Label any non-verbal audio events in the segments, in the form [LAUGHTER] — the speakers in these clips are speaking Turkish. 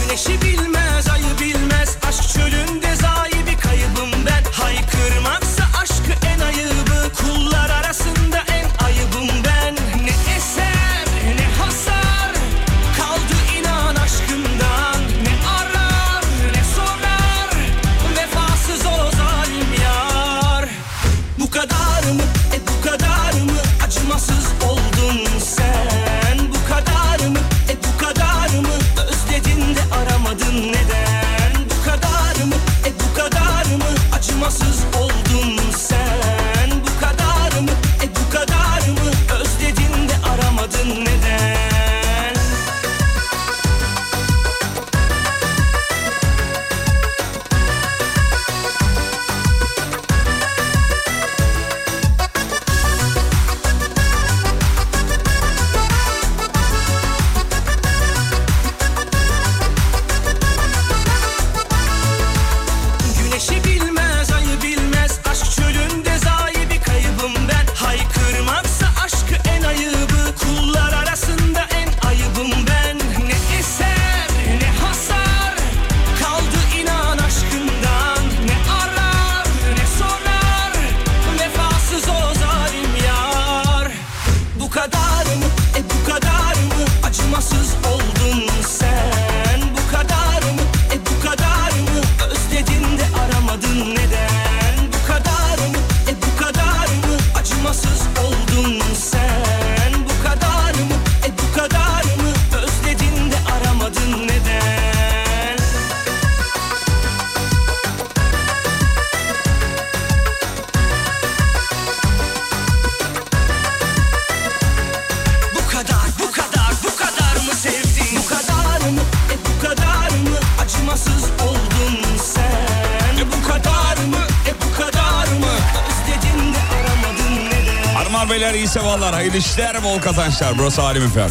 Güneşi bilmez, ayı bilmez Aşk çölünde zayi bir kaybım ben Haykırmaksa aşkı en ayıbı Kullar arasında en ayıbım ben Ne eser, ne hasar Kaldı inan aşkımdan Ne arar, ne sorar Vefasız o zalim yar Bu kadar mı, e bu kadar mı Acımasız oldun sen Bu kadar mı, e bu kadar mı Özledin de aramadın neden Bu kadar mı, e bu kadar mı Acımasız oldun sen Bu kadar mı, e bu kadar mı Özledin de aramadın neden Güneşi bilmez, ayı bilmez Aşk çölünde zayi bir kaybım ben Haykırmaksa aşkı en ayıbı Kullar arasında en ayıbım ben Ne eser, ne hasar Kaldı inan aşkımdan Ne arar, ne sorar Vefasız o zalim yar Bu kadar mı, e bu kadar mı Acımasız oldun sen Bu kadar mı, e bu kadar mı Özledin de aramadın neden Bu kadar mı, e bu kadar mı Acımasız oldun sen Bu kadar mı, e bu kadar mı Özledin de aramadın neden Bu kadar, bu kadar, bu kadar mı sevdin? Bu kadar mı, e bu kadar mı acımasız oldun sen? E bu kadar mı, e bu kadar mı özledin de aramadın neden? Hanımlar beyler iyi sabahlar, hayırlı işler, bol kazançlar. Burası Halim Efem.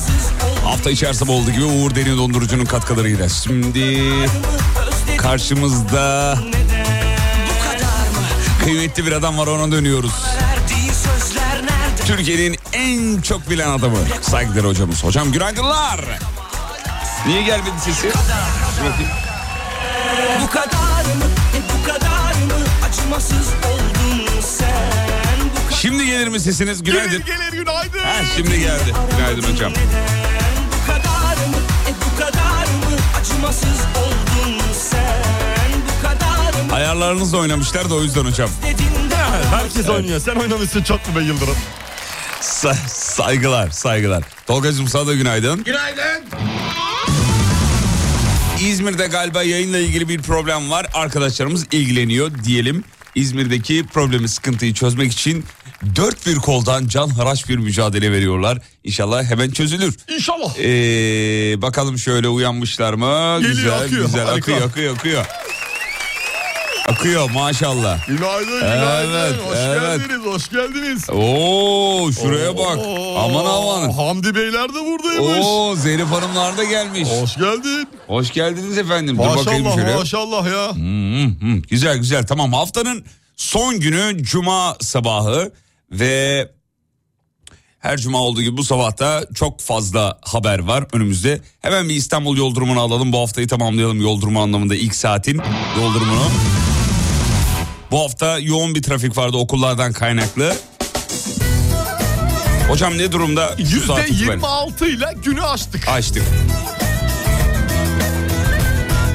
Hafta içerisinde olduğu gibi Uğur Derin Dondurucu'nun katkılarıyla. Şimdi Özledin karşımızda neden? Bu kadar mı? kıymetli bir adam var ona dönüyoruz. Verdiği sözler nerede? Türkiye'nin en çok bilen adamı. Saygılar hocamız. Hocam günaydınlar. Niye gelmedi sesi? Bu kadar mı, e bu kadar mı acımasız oldun sen? Bu kadar Şimdi gelir mi sesiniz? Günaydın. gelir günaydın. Ha, şimdi geldi. Günaydın hocam. neden? Bu kadar mı, e bu kadar mı acımasız oldun sen? Bu kadar mı Ayarlarınızla oynamışlar da o yüzden hocam. dedin de [LAUGHS] Herkes oynuyor. Sen oynamışsın çok mu be Yıldırım? Sa- saygılar, saygılar. Tolga'cığım sana da günaydın. Günaydın. İzmir'de galiba yayınla ilgili bir problem var. Arkadaşlarımız ilgileniyor diyelim. İzmir'deki problemi, sıkıntıyı çözmek için dört bir koldan can haraç bir mücadele veriyorlar. İnşallah hemen çözülür. İnşallah. Ee, bakalım şöyle uyanmışlar mı? Geliyor, güzel, akıyor. güzel. Harika. Akıyor, akıyor, akıyor. Akıyor maşallah. Günaydın, günaydın. Evet, hoş evet. geldiniz, hoş geldiniz. Oo, şuraya bak. Oo, Aman aman. Hamdi Beyler de buradaymış. Oo Zeynep Hanımlar da gelmiş. Hoş geldin. Hoş geldiniz efendim. Dur bakayım Maşallah, şöyle. maşallah ya. Hı, hı. Güzel güzel tamam haftanın son günü cuma sabahı ve her cuma olduğu gibi bu sabahta çok fazla haber var önümüzde. Hemen bir İstanbul yol durumunu alalım. Bu haftayı tamamlayalım yol durumu anlamında ilk saatin yol durumunu. Bu hafta yoğun bir trafik vardı okullardan kaynaklı. Hocam ne durumda? şu saat itibariyle? %26 ile günü açtık. Açtık.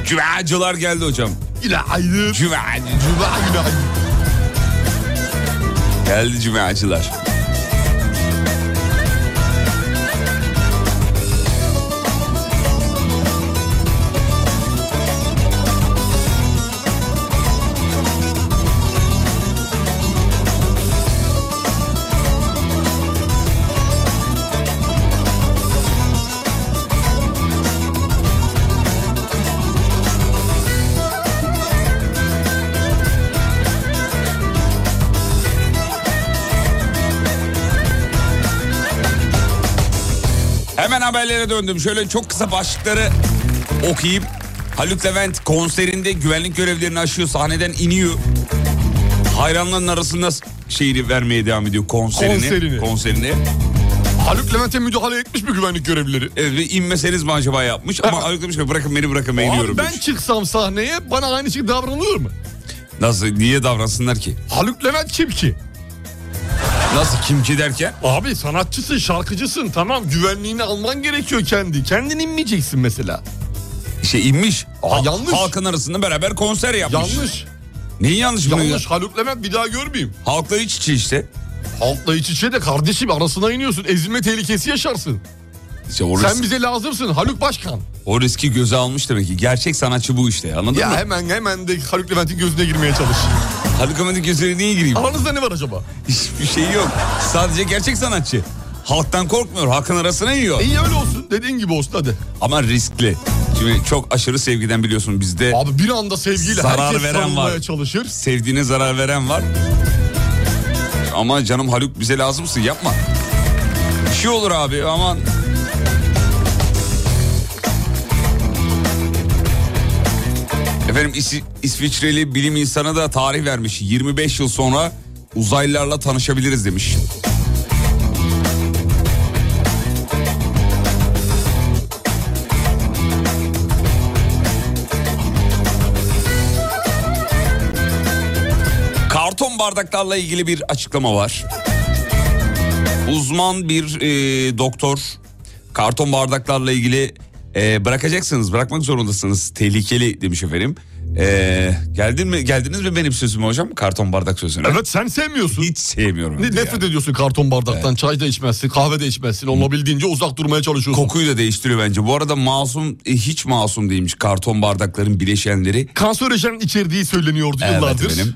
Cumacılar geldi hocam. Günaydın. Cumacı. Cuma günaydın. Geldi cumacılar. Hemen haberlere döndüm. Şöyle çok kısa başlıkları okuyayım. Haluk Levent konserinde güvenlik görevlerini aşıyor. Sahneden iniyor. Hayranların arasında şeyini vermeye devam ediyor. Konserini. Konserini. Konserini. Haluk Levent'e müdahale etmiş mi güvenlik görevlileri? Evet, ve inmeseniz mi acaba yapmış. Ama Haluk demiş ki bırakın beni bırakın ben iniyorum. Abi ben demiş. çıksam sahneye bana aynı şey davranılır mı? Nasıl niye davransınlar ki? Haluk Levent kim ki? Nasıl kim ki derken? Abi sanatçısın, şarkıcısın tamam güvenliğini alman gerekiyor kendi. Kendin inmeyeceksin mesela. Şey inmiş. Aa, yanlış. Halkın arasında beraber konser yapmış. Yanlış. Neyi yanlış bunun Yanlış ya? Haluk Levent bir daha görmeyeyim. Halkla iç içe işte. Halkla iç içe de kardeşim arasına iniyorsun. Ezilme tehlikesi yaşarsın. İşte o, risk- Sen bize lazımsın Haluk Başkan. o riski göze almış demek ki. Gerçek sanatçı bu işte anladın Ya mı? hemen hemen de Haluk Levent'in gözüne girmeye çalış. Haluk Ahmet'in gözüne niye gireyim? Aranızda ne var acaba? Hiçbir şey yok. Sadece gerçek sanatçı. Halktan korkmuyor. Halkın arasına yiyor. İyi öyle olsun. Dediğin gibi olsun hadi. Ama riskli. Şimdi çok aşırı sevgiden biliyorsun bizde Abi bir anda sevgiyle Zarar herkes veren sarılmaya var. çalışır. sevdiğine zarar veren var. Ama canım Haluk bize lazımsın yapma. Bir şey olur abi aman. Efendim İs- İsviçreli bilim insanı da tarih vermiş. 25 yıl sonra uzaylılarla tanışabiliriz demiş. Karton bardaklarla ilgili bir açıklama var. Uzman bir e, doktor karton bardaklarla ilgili e, bırakacaksınız, bırakmak zorundasınız. Tehlikeli demiş efendim. E, geldin mi, geldiniz mi benim sözüme hocam? Karton bardak sözüne. Evet sen sevmiyorsun. Hiç sevmiyorum. Ne- yani. Nefret ediyorsun karton bardaktan. Çay da içmezsin, kahve de içmezsin. Onunla bildiğince uzak durmaya çalışıyorsun. Kokuyu da değiştiriyor bence. Bu arada masum, e, hiç masum değilmiş karton bardakların bileşenleri. Kanserojen içerdiği söyleniyordu yıllardır. Evet efendim.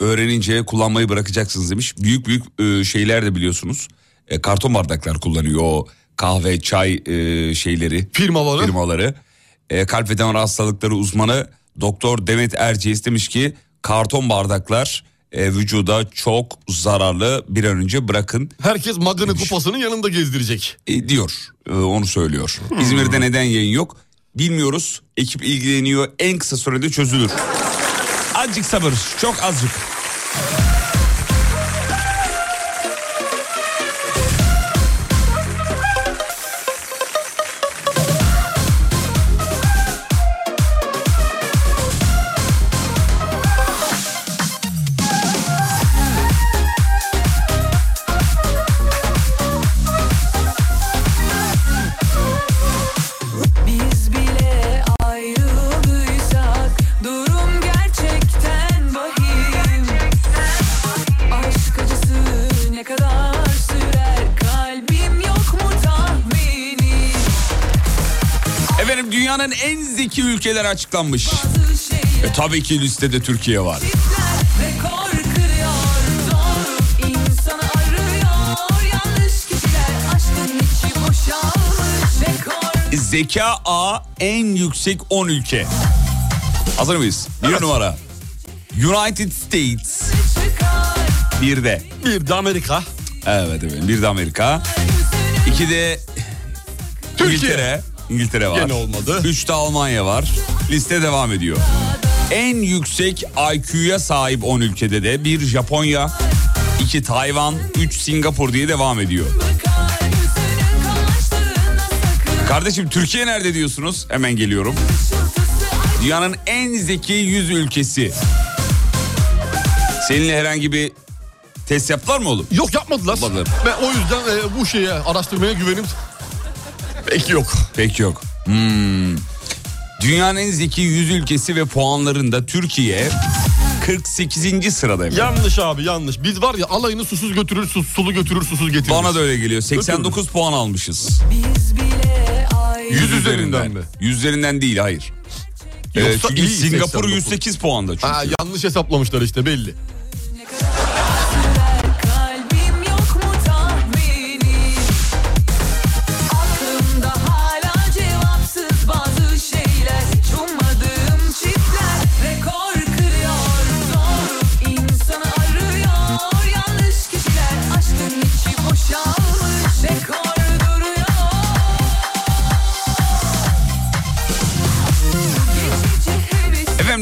Öğrenince kullanmayı bırakacaksınız demiş. Büyük büyük e, şeyler de biliyorsunuz. E, karton bardaklar kullanıyor. O kahve, çay e, şeyleri, Firmaları. firmaları. E, kalp ve damar hastalıkları uzmanı Doktor Demet Erciyes demiş ki karton bardaklar e, vücuda çok zararlı. Bir an önce bırakın Herkes magını kupasının yanında gezdirecek. Hmm. e, diyor. E, onu söylüyor. İzmir'de neden yayın yok? Bilmiyoruz. Ekip ilgileniyor. En kısa sürede çözülür. Azıcık sabır. Çok azıcık. Biz bile ayrıldıysak durum gerçekten vahim Aşk acısı ne kadar sürer kalbim yok mu tahmini Efendim dünyanın en zeki ülkeleri açıklanmış. Bazı şeyler E tabii ki listede Türkiye var. rekor kırıyor doğru insanı arıyor yanlış kişiler aşkın içi boşalmış rekor Zeka A en yüksek 10 ülke. Hazır mıyız? Bir numara. United States çıkar bir de. Bir de Amerika. Evet efendim bir de Amerika. İki de Türkiye. İngiltere. İngiltere var. Gene olmadı. Üç de Almanya var. Liste devam ediyor. En yüksek IQ'ya sahip 10 ülkede de bir Japonya, iki Tayvan, üç Singapur diye devam ediyor. bakar yüzünün kamaştığına sakın Kardeşim Türkiye nerede diyorsunuz? Hemen geliyorum. Dünyanın en zeki 100 ülkesi. Seninle herhangi bir test yaptılar mı oğlum? Yok yapmadılar. Yapmadılar. Ve o yüzden e, bu şeye araştırmaya güvenim pek yok. Pek yok. Hmm. Dünyanın en zeki 100 ülkesi ve puanlarında Türkiye 48. sırada. efendim. Yanlış abi yanlış. Biz var ya alayını susuz götürür, sus, sulu götürür, susuz getirir. Bana da öyle geliyor. 89 puan almışız. Biz bile ayrı Yüz üzerinden mi? Yüzlerinden değil hayır. Yoksa Ee, çünkü iyi Singapur 89. 108 puanda çünkü. Ha, yanlış hesaplamışlar işte belli. kalbim yok mu tahmini Aklımda hala cevapsız bazı şeyler Çummadığım çiftler rekor kırıyor Doğru insanı arıyor yanlış kişiler Aşkın içi boşalmış rekor duruyor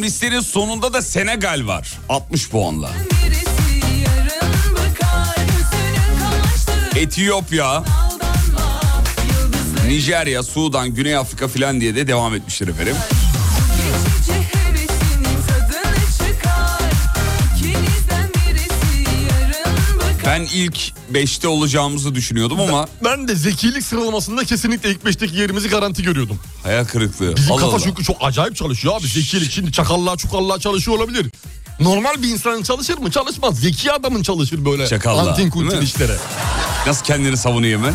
listenin sonunda da Senegal var. 60 puanla. Birisi yarın bakar Gözünün kamaştığı Etiyopya, daldanma Yıldızlı Nijerya, Sudan, Güney Afrika filan diye de devam etmiştir efendim. geçici hevesinin tadını çıkar İkinizden birisi yarın bakar Ben ilk 5'te olacağımızı düşünüyordum ama Ben de zekilik sıralamasında kesinlikle ilk beşteki yerimizi garanti görüyordum. hayal kırıklığı. Bizim Allah kafa Allah. çünkü çok acayip çalışıyor abi zekilik. Şimdi çakallığa çukallığa çalışıyor olabilir. Normal bir insanın çalışır mı? Çalışmaz. Zeki adamın çalışır böyle Çakallığa, antin değil kuntin mi? işlere. Nasıl kendini savunuyor hemen?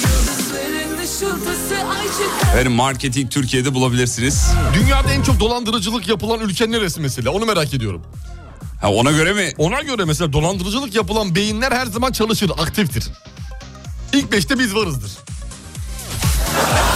Yıldızların ışıltısı ay çıkar Efendim marketing Türkiye'de bulabilirsiniz. Dünyada en çok dolandırıcılık yapılan ülke neresi mesela? Onu merak ediyorum. Ha, ona göre mi? Ona göre mesela dolandırıcılık yapılan beyinler her zaman çalışır, aktiftir. İlk beşte biz varızdır.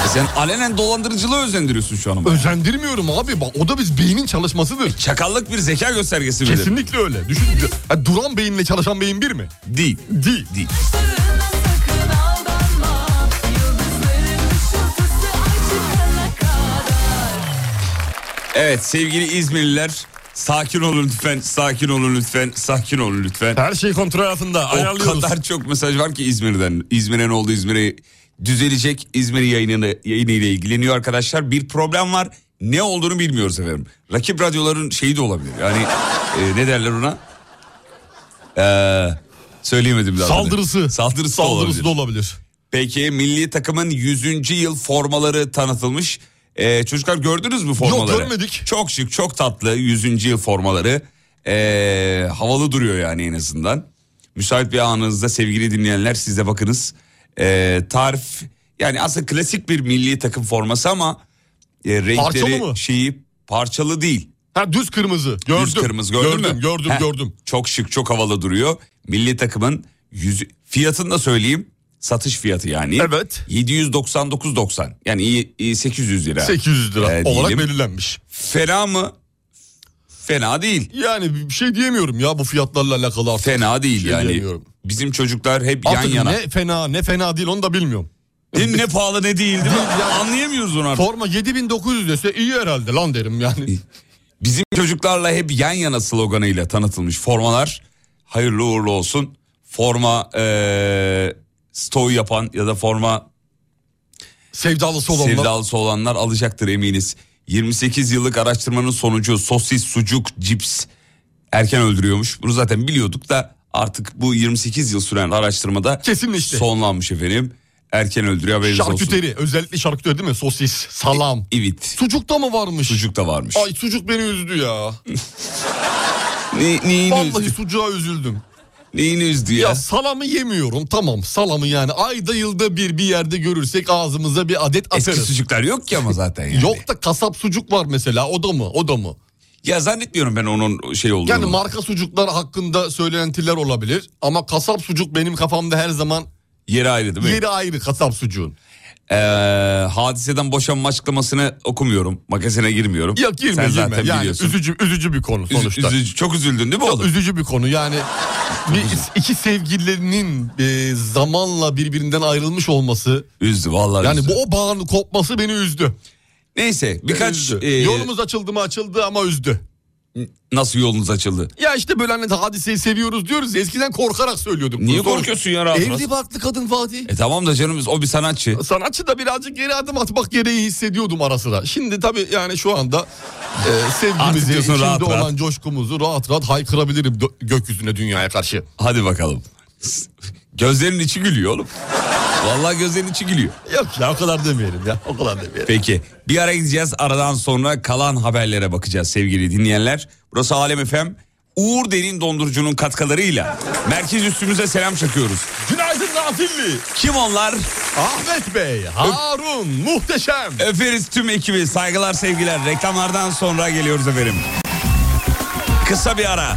E Sen alenen dolandırıcılığa özendiriyorsun şu an ama. Özendirmiyorum abi. Bak o da biz beynin çalışmasıdır. Çakallık bir zeka göstergesi midir? Kesinlikle öyle. Düşün. Ya duran beyinle çalışan beyin bir mi? Değil. Değil. Değil. Sırrına sakın aldanma Yıldızların ışıltısı ay çıkana kadar Evet sevgili İzmirliler sakin olun lütfen, sakin olun lütfen, sakin olun lütfen. Her şey kontrol altında. O Ayarlıyoruz. kadar çok mesaj var ki İzmir'den. İzmir'e ne oldu İzmir'e düzelecek. İzmir yayınını, yayınıyla ilgileniyor arkadaşlar. Bir problem var. Ne olduğunu bilmiyoruz efendim. Rakip radyoların şeyi de olabilir. Yani e, ne derler ona? Ee, söyleyemedim daha. Saldırısı. Saldırısı, da olabilir. Saldırısı da olabilir. Peki milli takımın 100. yıl formaları tanıtılmış. Ee, çocuklar gördünüz mü formaları? görmedik. Çok şık, çok tatlı 100. yıl formaları. Ee, havalı duruyor yani en azından. Müsait bir anınızda sevgili dinleyenler siz de bakınız. Ee, tarif yani aslında klasik bir milli takım forması ama e, renkleri Parçalı mı? şeyi parçalı değil. Ha düz kırmızı. Gördüm. Düz kırmızı gördün gördüm, mü? Gördüm Heh, gördüm. Çok şık çok havalı duruyor. Milli takımın yüzü... fiyatını da söyleyeyim. Satış fiyatı yani. Evet. 799.90 yani iyi- iyi 800 lira. 800 lira Ee, olarak diyelim. belirlenmiş. Fena mı? Fena değil. Yani bir şey diyemiyorum ya bu fiyatlarla alakalı artık. Fena değil Şey yani. diyemiyorum. Bizim çocuklar hep Artık yan yana. ne fena ne fena değil onu da bilmiyorum. Ne, ne pahalı ne değil değil mi? Değil [LAUGHS] yani. Anlayamıyoruz onu artık. Forma 7900 dese iyi herhalde lan derim yani. Bizim çocuklarla hep yan yana sloganıyla tanıtılmış formalar. Hayırlı uğurlu olsun. Forma eee stoğu yapan ya da forma Sevdalısı olanlar. Sevdalısı olanlar alacaktır eminiz. 28 yıllık araştırmanın sonucu sosis, sucuk, cips erken öldürüyormuş. Bunu zaten biliyorduk da artık bu 28 yıl süren araştırmada Kesinleşti. sonlanmış efendim. Erken öldürüyor haberiniz olsun. Şarküteri özellikle şarküteri değil mi? Sosis, salam. Evet. Sucukta mı varmış? Sucuk da varmış. Ay sucuk beni üzdü ya. Ne, neyini, Vallahi üzdü? sucuğa üzüldüm. neyini üzdü ya? Ya salamı yemiyorum tamam salamı yani ayda yılda bir bir yerde görürsek ağzımıza bir adet Eski atarız. sucuklar yok ki ama zaten yani. Yok da kasap sucuk var mesela o da mı o da mı? Ya zannetmiyorum ben onun şey olduğunu. Yani marka sucuklar hakkında söylentiler olabilir ama kasap sucuk benim kafamda her zaman Yeri ayrı değil mi? yeri ayrı kasap sucuğun. Ee, hadiseden boşanma açıklamasını okumuyorum. Magazine girmiyorum. Yok girme Sen girme. zaten yani biliyorsun. üzücü üzücü bir konu Üz- sonuçta. üzücü- çok üzüldün değil mi Çok oğlum? üzücü bir konu [LAUGHS] yani bir, iki sevgililerinin e, zamanla birbirinden ayrılmış olması Üzdü vallahi yani üzdü. bu o bağın kopması beni üzdü. Neyse birkaç Üzdü. e, Yolumuz açıldı mı açıldı ama üzdü. nasıl yolunuz açıldı? Ya işte böyle hani hadiseyi seviyoruz diyoruz ya, eskiden korkarak söylüyorduk. Niye Bunu sonra- korkuyorsun ya rahat rahat? Evli barklı kadın Fatih. E tamam da canım o bir sanatçı. Sanatçı da birazcık geri adım atmak gereği hissediyordum ara sıra. Şimdi tabii yani şu anda e, Artık sevgimizi, diyorsun içinde rahat rahat. olan coşkumuzu rahat rahat haykırabilirim gö- gökyüzüne, dünyaya karşı. Hadi bakalım. Gözlerin içi gülüyor oğlum. Vallahi gözlerin içi gülüyor. Yok ya o kadar demeyelim ya, o kadar demeyelim. Peki bir ara gideceğiz aradan sonra kalan haberlere bakacağız sevgili dinleyenler. Burası Alem Efem. Uğur Derin Dondurucu'nun katkılarıyla merkez üstümüze selam çakıyoruz. Günaydın Natilli, Kim onlar? Ahmet Bey, Harun, muhteşem. Öperiz tüm ekibi. Saygılar sevgiler. Reklamlardan sonra geliyoruz efendim. Kısa bir ara.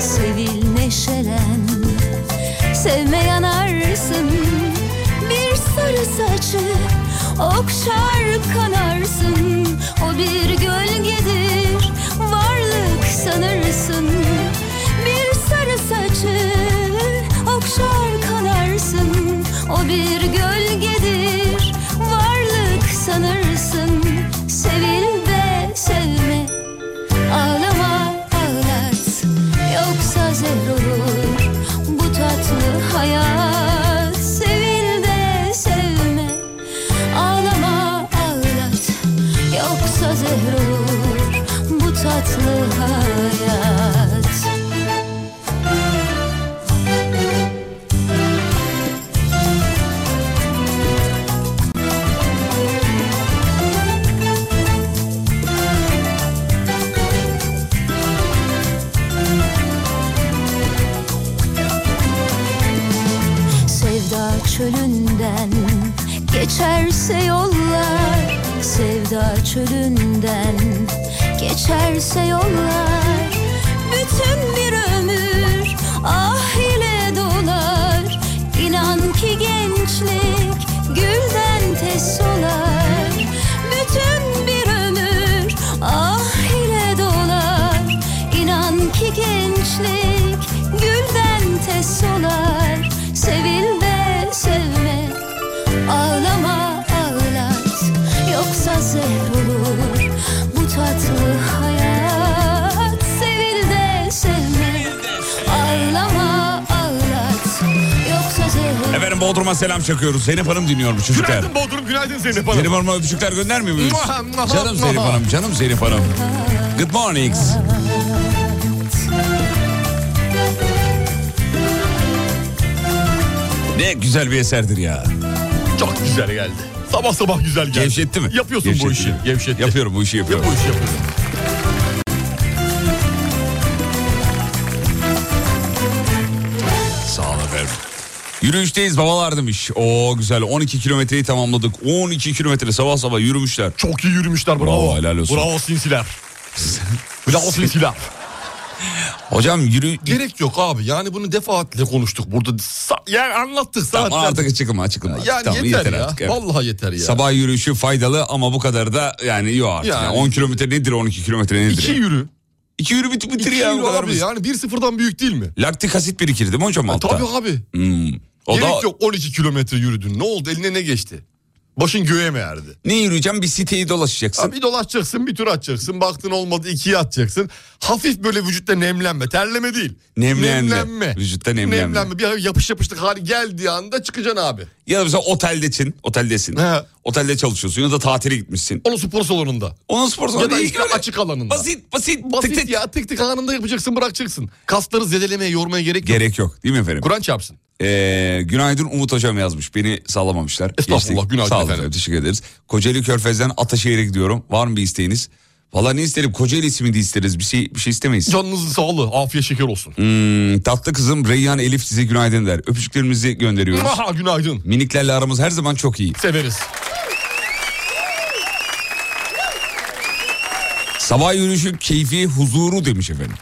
sevil neşelen Sevme yanarsın bir sarı saçı Okşar kanarsın o bir gölgedir Varlık sanırsın bir sarı saçı Okşar kanarsın o bir gölgedir Varlık sanırsın sevil de sevme Ağlama ağlat yoksa zehir olur bu tatlı hayat Sevil de sevme ağlama ağlat yoksa zehir olur bu tatlı hayat Sevda çölünden geçerse yollar Sevda çölünden geçerse yollar Bütün bir ömür ah ile dolar İnan ki gençlik gülden tez solar Bütün bir ömür ah ile dolar İnan ki gençlik gülden tez solar Sevil de sevme ağlama ağlat Yoksa zehir olur bu tatlı hayat Sevil de sevme ağlama ağlat Yoksa zehir Efendim Bodrum'a selam çakıyoruz. Zeynep Hanım dinliyormuş çocuklar. Günaydın Bodrum, günaydın Zeynep Hanım. Zeynep Hanım'a öpücükler göndermiyor muyuz? Muah, muah, canım muah. Zeynep Hanım, canım Zeynep Hanım. Good morning. Ne güzel bir eserdir ya. Çok güzel geldi. Sabah sabah güzel geldi. Gevşetti mi? Yapıyorsun bu Gevşetti. işi. Gevşetti. Yapıyorum bu işi Yap yapıyorum. bu işi yapıyorsun. Sağ olun efendim. Yürüyüşteyiz babalar demiş. Oo güzel 12 kilometreyi tamamladık. 12 kilometre sabah sabah yürümüşler. Çok iyi yürümüşler bravo. Bravo, helal olsun. Bravo [LAUGHS] sinsiler. bravo sinsiler. Hocam yürü... Gerek yok abi yani bunu defaatle konuştuk burada. Sa- yani anlattık zaten. Tamam artık açıklama açıklama. artık. Yani Tamam, yeter, ya. artık, evet. Vallahi yeter ya. Sabah yürüyüşü faydalı ama bu kadar da yani yok artık. Yani- Yani 10 kilometre nedir 12 kilometre nedir? İki yürü. 2 yürü bitir, bitir İki ya yürü bu kadar abi basit. yani bir sıfırdan büyük değil mi? Laktik asit birikir değil mi hocam altta? Tabii abi. Hmm. O Gerek da yok 12 kilometre yürüdün. Ne oldu eline ne geçti? Başın göğe mi erdi? ne yürüyeceğim bir siteyi dolaşacaksın. Ha, bir dolaşacaksın bir tur atacaksın. Baktın olmadı ikiye atacaksın. Hafif böyle vücutta nemlenme. Terleme değil. Nemlenme. Vücutta nemlenme. Bir yapış yapışlık hali geldiği anda çıkacaksın abi. Ya da mesela oteldesin, oteldesin. He. Otelde çalışıyorsun ya da tatile gitmişsin. Onun spor salonunda. Onun spor salonu ya da değil ikram öyle. açık alanında. Basit basit. Basit tık tık. ya tık tık anında yapacaksın bırakacaksın. Kasları zedelemeye yormaya gerek yok. Gerek yok değil mi efendim? Kur'an çarpsın. Ee, günaydın Umut Hocam yazmış. Beni sallamamışlar. Estağfurullah, günaydın Sağ olun efendim. efendim. Teşekkür ederiz. Kocaeli Körfez'den Ataşehir'e gidiyorum. Var mı bir isteğiniz? Valla ne isterim? Kocaeli ismini de isteriz. Bir şey, bir şey istemeyiz. Canınızın sağlığı afiyet şeker olsun. Hmm, tatlı kızım Reyhan Elif size günaydın der. Öpücüklerimizi gönderiyoruz. Aha, günaydın. Miniklerle aramız her zaman çok iyi. Severiz. Sabah yürüyüşü keyfi huzuru demiş efendim.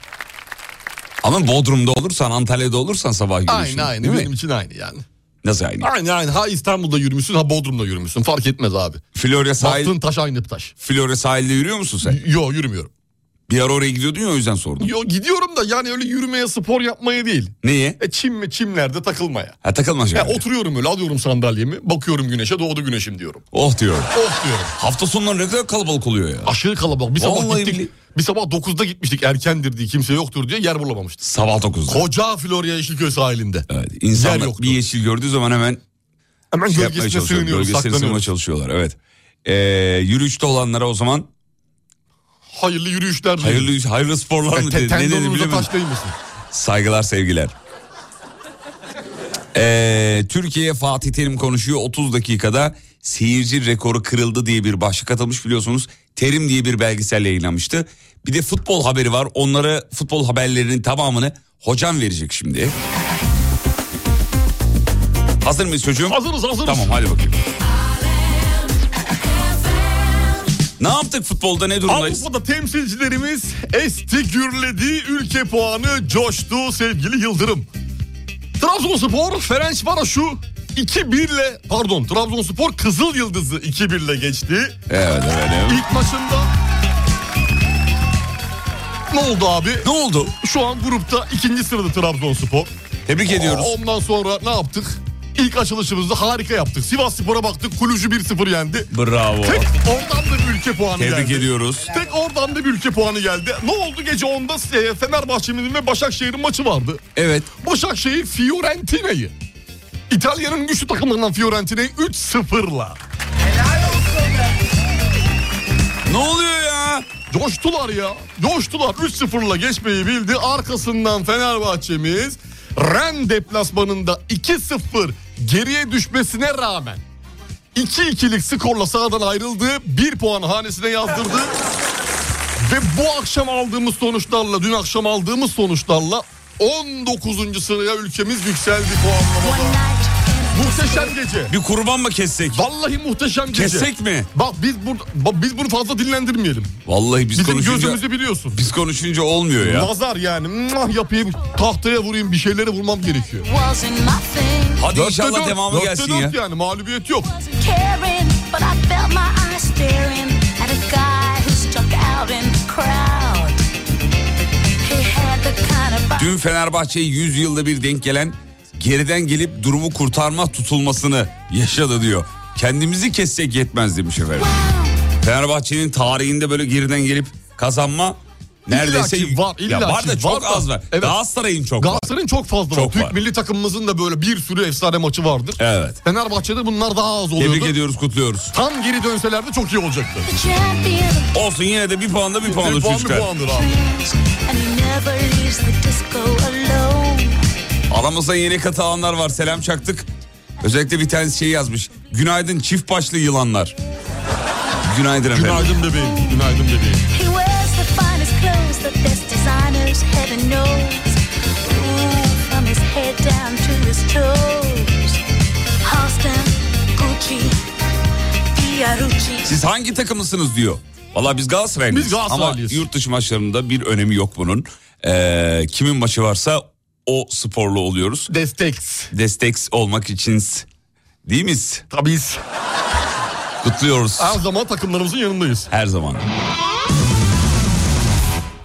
Ama Bodrum'da olursan, Antalya'da olursan sabah yürüyüşü. Aynı aynı değil mi? benim için aynı yani. Nasıl aynı? Aynı aynı ha İstanbul'da yürümüşsün ha Bodrum'da yürümüşsün fark etmez abi. Florya E, sahil, Baktığın taş aynı taş. Florya sahilde yürüyor musun sen? Yo yürümüyorum. Bir ara oraya gidiyordun ya o yüzden sordum. Yo gidiyorum da yani öyle yürümeye spor yapmaya değil. Niye? E çim mi çimlerde takılmaya. Ha takılma Ya şöyle. oturuyorum öyle alıyorum sandalyemi bakıyorum güneşe doğdu güneşim diyorum. Oh diyor. Oh diyorum. Hafta sonları ne kadar kalabalık oluyor ya. Aşırı kalabalık. Bir sabah Vallahi gittik. billahi. Bir sabah 9'da gitmiştik erkendir diye kimse yoktur diye yer bulamamıştık. Sabah 9'da. Koca Florya Yeşilköy sahilinde. Evet, insanlar Yer yoktu. bir yeşil gördüğü zaman hemen Hemen şey yapmaya gölgesine çalışıyorlar. sığınıyoruz Bölgesine sığınmaya saklanıyoruz. çalışıyorlar evet. Ee, yürüyüşte olanlara o zaman Hayırlı yürüyüşler. dilerim. hayırlı hayırlı sporlar mı Te- dedi, ne dedi tendonunuza bilemedim. taş değmesin. Saygılar sevgiler. Ee, Türkiye Fatih Terim konuşuyor 30 dakikada seyirci rekoru kırıldı diye bir başlık atılmış biliyorsunuz. Terim diye bir belgesel yayınlamıştı. Bir de futbol haberi var onlara futbol haberlerinin tamamını hocam verecek şimdi. Hazır mıyız çocuğum? Hazırız hazırız. Tamam hadi bakayım. Ne yaptık futbolda ne durumdayız? Avrupa'da temsilcilerimiz esti gürledi. Ülke puanı coştu sevgili Yıldırım. Trabzonspor Ferencvaros'u 2-1 ile pardon Trabzonspor Kızıl Yıldız'ı 2-1 ile geçti. Evet efendim. İlk maçında ne oldu abi? Ne oldu? Şu an grupta ikinci sırada Trabzonspor. Tebrik ediyoruz. Ondan sonra ne yaptık? İlk açılışımızı harika yaptık. Sivas Spor'a baktık. Kulücü 1-0 yendi. Bravo. Tek oradan da bir ülke puanı geldi. Tebrik ediyoruz. Tek oradan da bir ülke puanı geldi. Ne oldu gece 10'da e, Fenerbahçe'nin ve Başakşehir'in maçı vardı. Evet. Başakşehir Fiorentina'yı. İtalya'nın güçlü takımlarından Fiorentina'yı 3-0'la. Ne oluyor ya? Coştular ya. Coştular. 3-0'la geçmeyi bildi. Arkasından Fenerbahçe'miz Ren deplasmanında 2-0 geriye düşmesine rağmen 2-2'lik skorla sahadan ayrıldı. 1 puan hanesine yazdırdı. Ve bu akşam aldığımız sonuçlarla, dün akşam aldığımız sonuçlarla 19. sıraya ülkemiz yükseldi puanlamada. Muhteşem gece. Bir kurban mı kessek? Vallahi muhteşem gece. Kessek mi? Bak biz burada bak biz bunu fazla dinlendirmeyelim. Vallahi biz Bizim konuşunca gözümüzü biliyorsun. biz konuşunca olmuyor ya. Nazar yani. Mwah yapayım, tahtaya vurayım, bir şeylere vurmam gerekiyor. Wasn't my thing. Hadi Dörtte inşallah dört, devamı dörtte gelsin ya. dört yani mağlubiyet yok. wasn't caring, but I felt my eyes staring at a guy who struck out in the crowd. He had the kind of body Dün Fenerbahçe'ye 100 yılda bir denk gelen geriden gelip durumu kurtarma tutulmasını yaşadı diyor. Kendimizi kessek yetmez demiş efendim. Fenerbahçe'nin tarihinde böyle geriden gelip kazanma neredeyse İlla ki var, illa ya var ki da çok var da. az var. Evet. Galatasaray'ın çok var. Galatasaray'ın çok fazla Çok var. Türk var. milli takımımızın da böyle bir sürü efsane maçı vardır. Evet. Fenerbahçe'de bunlar daha az oluyordu. Tebrik ediyoruz, kutluyoruz. Tam geri dönselerdi çok iyi olacaktı. champion Olsun yine de bir puanda bir Bir puanda puan bir çocuklar. puandır abi. and he never leaves the disco alone. Aramızda yeni katılanlar var. Selam çaktık. Özellikle bir tanesi şey yazmış. Günaydın çift başlı yılanlar. Günaydın efendim. Günaydın bebeğim, günaydın bebeğim. He wears the finest clothes, the best designers heaven knows. Ooh, from his head down to his toes. Halston, Gucci, Fiorucci. Siz hangi takımlısınız diyor. Valla biz Galatasaraylıyız. Biz Galatasaraylıyız. Ama yurt dışı maçlarında bir önemi yok bunun. Ee, kimin maçı varsa o sporlu oluyoruz. Destek. Destek olmak için değil miyiz? Tabii. Kutluyoruz Her zaman takımlarımızın yanındayız. her zaman.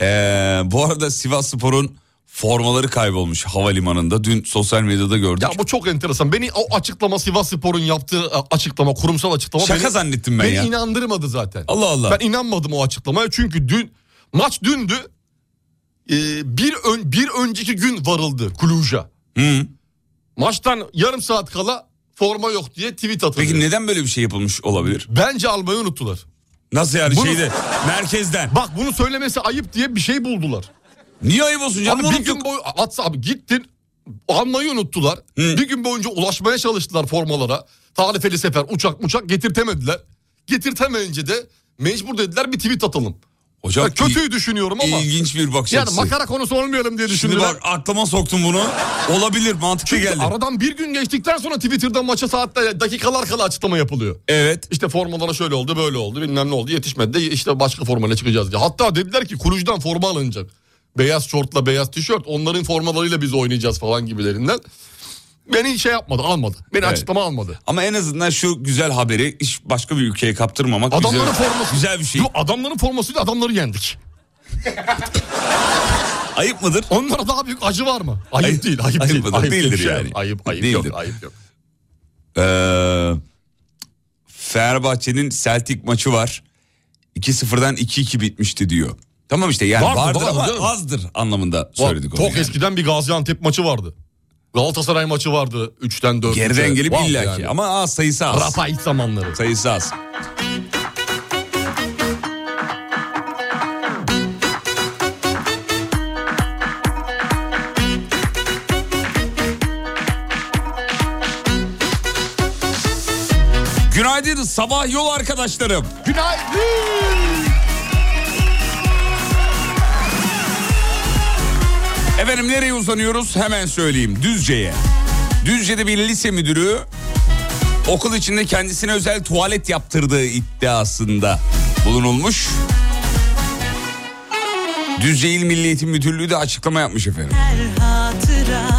Ee, bu arada Sivas Spor'un formaları kaybolmuş havalimanında. Dün sosyal medyada gördük. Ya bu çok enteresan. Beni o açıklama Sivas Spor'un yaptığı e, açıklama, kurumsal açıklama. Şaka beni- zannettim ben beni ya. inandırmadı zaten. Allah Allah. Ben inanmadım o açıklamaya çünkü dün maç dündü. Ee, bir ön, bir önceki gün varıldı Kuluj'a. Hı. Maçtan yarım saat kala forma yok diye tweet atıldı. Peki neden böyle bir şey yapılmış olabilir? Bence almayı unuttular. Nasıl yani Bunu- şeyde merkezden? Bak bunu söylemesi ayıp diye bir şey buldular. Niye ayıp olsun canım? Abi bir Unuttuk. gün boyu WhatsApp gittin almayı unuttular. Bir gün boyunca ulaşmaya çalıştılar formalara. Tarifeli sefer uçak uçak getirtemediler. Getirtemeyince de mecbur dediler bir tweet atalım. Hocam Ya kötüyü düşünüyorum ama. İlginç bir bakış Yani açısı. makara konusu olmayalım diye Şimdi düşündüler. bak aklıma soktum bunu. Olabilir mantıklı Çünkü geldi. aradan bir gün geçtikten sonra Twitter'dan maça saatler dakikalar kala açıklama yapılıyor. Evet. İşte formalara şöyle oldu böyle oldu bilmem ne oldu yetişmedi de işte başka formayla çıkacağız diye. Hatta dediler ki Kulüc'den forma alınacak. Beyaz şortla beyaz tişört onların formalarıyla biz oynayacağız falan gibilerinden. Beni şey yapmadı almadı. Beni Evet. açıklama almadı. Ama en azından şu güzel haberi hiç başka bir ülkeye kaptırmamak Adamların güzel, forması. güzel bir şey. Yo, adamların formasıyla adamları yendik. [LAUGHS] Ayıp mıdır? Onlara daha büyük acı var mı? Ayıp, Ayıp- değil, ayıp, ayıp değil. mıdır? Ayıp diye Değildir bir şey yani. yok. Ayıp, ayıp Değildir. yok, ayıp yok. Ee, Fenerbahçe'nin Celtic maçı var. 2-0'dan 2-2 bitmişti diyor. Tamam işte yani Vardı, vardır vardı ama canım. azdır anlamında Var, söyledik onu. Çok yani. eskiden bir Gaziantep maçı vardı. Galatasaray maçı vardı 3'ten 4'e. Geriden gelip illaki ama az sayısı az. Rapait zamanları. Sayısı az. Günaydın sabah yol arkadaşlarım. Günaydın. Efendim nereye uzanıyoruz hemen söyleyeyim Düzce'ye. Düzce'de bir lise müdürü okul içinde kendisine özel tuvalet yaptırdığı iddiasında bulunulmuş. Düzceil Milli Eğitim Müdürlüğü de açıklama yapmış efendim. Her hatıra,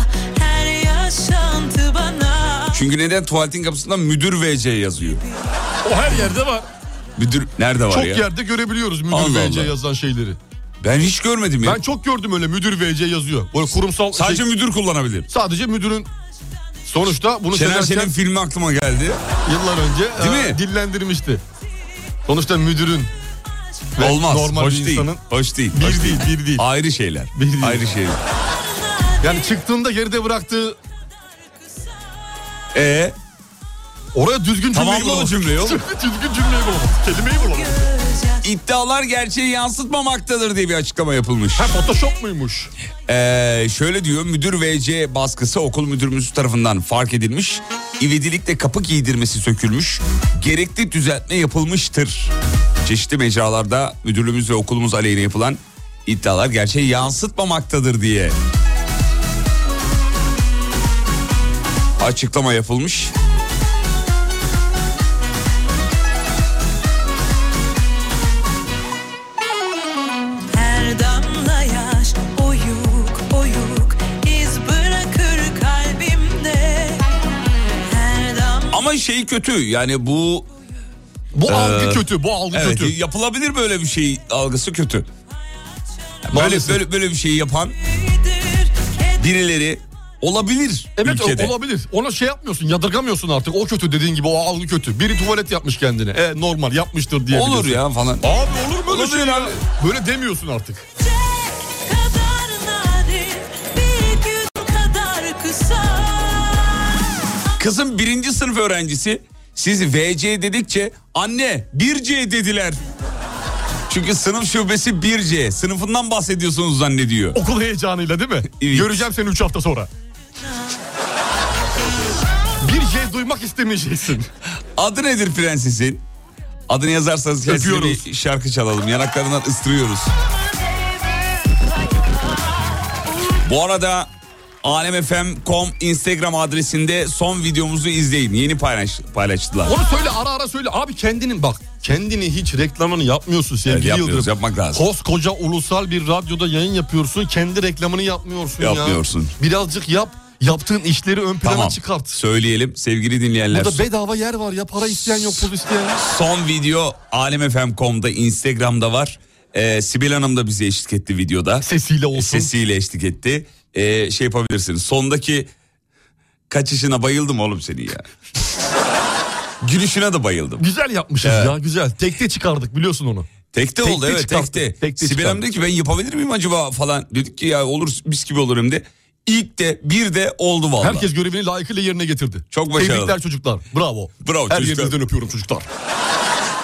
her yaşantı bana Çünkü neden tuvaletin kapısında müdür VC yazıyor? O her yerde var. Müdür nerede var Çok ya? yerde görebiliyoruz müdür Allah VC Allah. yazan şeyleri. Ben hiç görmedim ya. Ben çok gördüm öyle müdür VC yazıyor. Böyle kurumsal şey- Sadece müdür kullanabilir. sadece müdürün sonuçta bunu Şener severken Şen'in filmi aklıma geldi. yıllar önce Değil e, mi? dillendirmişti. Sonuçta müdürün ve Olmaz. normal hoş bir değil. insanın Hoş değil. bir hoş değil, bir değil. Ayrı şeyler. Bir değil. Ayrı şeyler. Yani çıktığında geride bıraktığı E oraya düzgün cümleyi Tamamla o bulamadı. cümleyi [LAUGHS] oğlum. düzgün cümleyi bulamadı. Kelimeyi bulamadı. iddialar gerçeği yansıtmamaktadır diye bir açıklama yapılmış. Ha Photoshop muymuş? Ee, şöyle diyor müdür VC baskısı okul müdürümüz tarafından fark edilmiş. İvedilikle kapı giydirmesi sökülmüş. Gerekli düzeltme yapılmıştır. Çeşitli mecralarda müdürlüğümüz ve okulumuz aleyhine yapılan iddialar gerçeği yansıtmamaktadır diye. Açıklama yapılmış. Her damla yaş oyuk oyuk iz bırakır kalbimde Her damla Ama şey kötü yani bu Bu algı kötü, bu algı Ee, evet, kötü. yapılabilir böyle bir şey algısı kötü. Böyle, Maalesef. böyle böyle bir şeyi yapan birileri olabilir Evet ülkede. olabilir. Ona şey yapmıyorsun, yadırgamıyorsun artık. O kötü dediğin gibi, o algı kötü. Biri tuvalet yapmış kendine. E normal yapmıştır diye. Olur ya falan. Abi olur böyle Olur şey ya. ya. Böyle demiyorsun artık. kadar nadir bir gün kadar kısa Kızım birinci sınıf öğrencisi siz VC dedikçe anne 1C dediler. Çünkü sınıf şubesi 1C. Sınıfından bahsediyorsunuz zannediyor. Okul heyecanıyla değil mi? Evet. Göreceğim seni 3 hafta sonra. Bir şey duymak istemeyeceksin. Adı nedir prensesin? Adını yazarsanız kendisine Öpüyoruz. bir şarkı çalalım. Yanaklarından ıstırıyoruz. Bu arada alemfm.com Instagram adresinde son videomuzu izleyin. Yeni paylaş, paylaştılar. Onu söyle ara ara söyle. Abi kendinin bak kendini hiç reklamını yapmıyorsun sevgili Evet, yapmıyoruz, Yıldırım. yapmak lazım. Koskoca ulusal bir radyoda yayın yapıyorsun. Kendi reklamını yapmıyorsun ya. Yapmıyorsun. Birazcık yap. Yaptığın işleri ön plana Tamam çıkart. söyleyelim sevgili dinleyenler. Burada bedava yer var ya. Para isteyen yok, pul isteyen yok. Son video alemfm.com'da Instagram'da var. Ee, Sibel Hanım da bize eşlik etti videoda. Sesiyle olsun. Sesiyle eşlik etti. Ee, şey yapabilirsiniz. Sondaki kaçışına bayıldım oğlum seni ya. [LAUGHS] Gülüşüne de bayıldım. Güzel yapmışız Evet. ya güzel. Tekte çıkardık biliyorsun onu. Tekte Tekte oldu evet çıkarttık, tekte. tekte Sibel Hanım çıkarttık. dedi ki ben yapabilir miyim acaba falan. Dedik ki ya olur mis gibi olur hem de. İlk de bir de oldu vallahi. Herkes görevini layıkıyla yerine getirdi. Çok başarılı. Tebrikler çocuklar. Bravo. Bravo Her çocuklar. yerinizden öpüyorum çocuklar.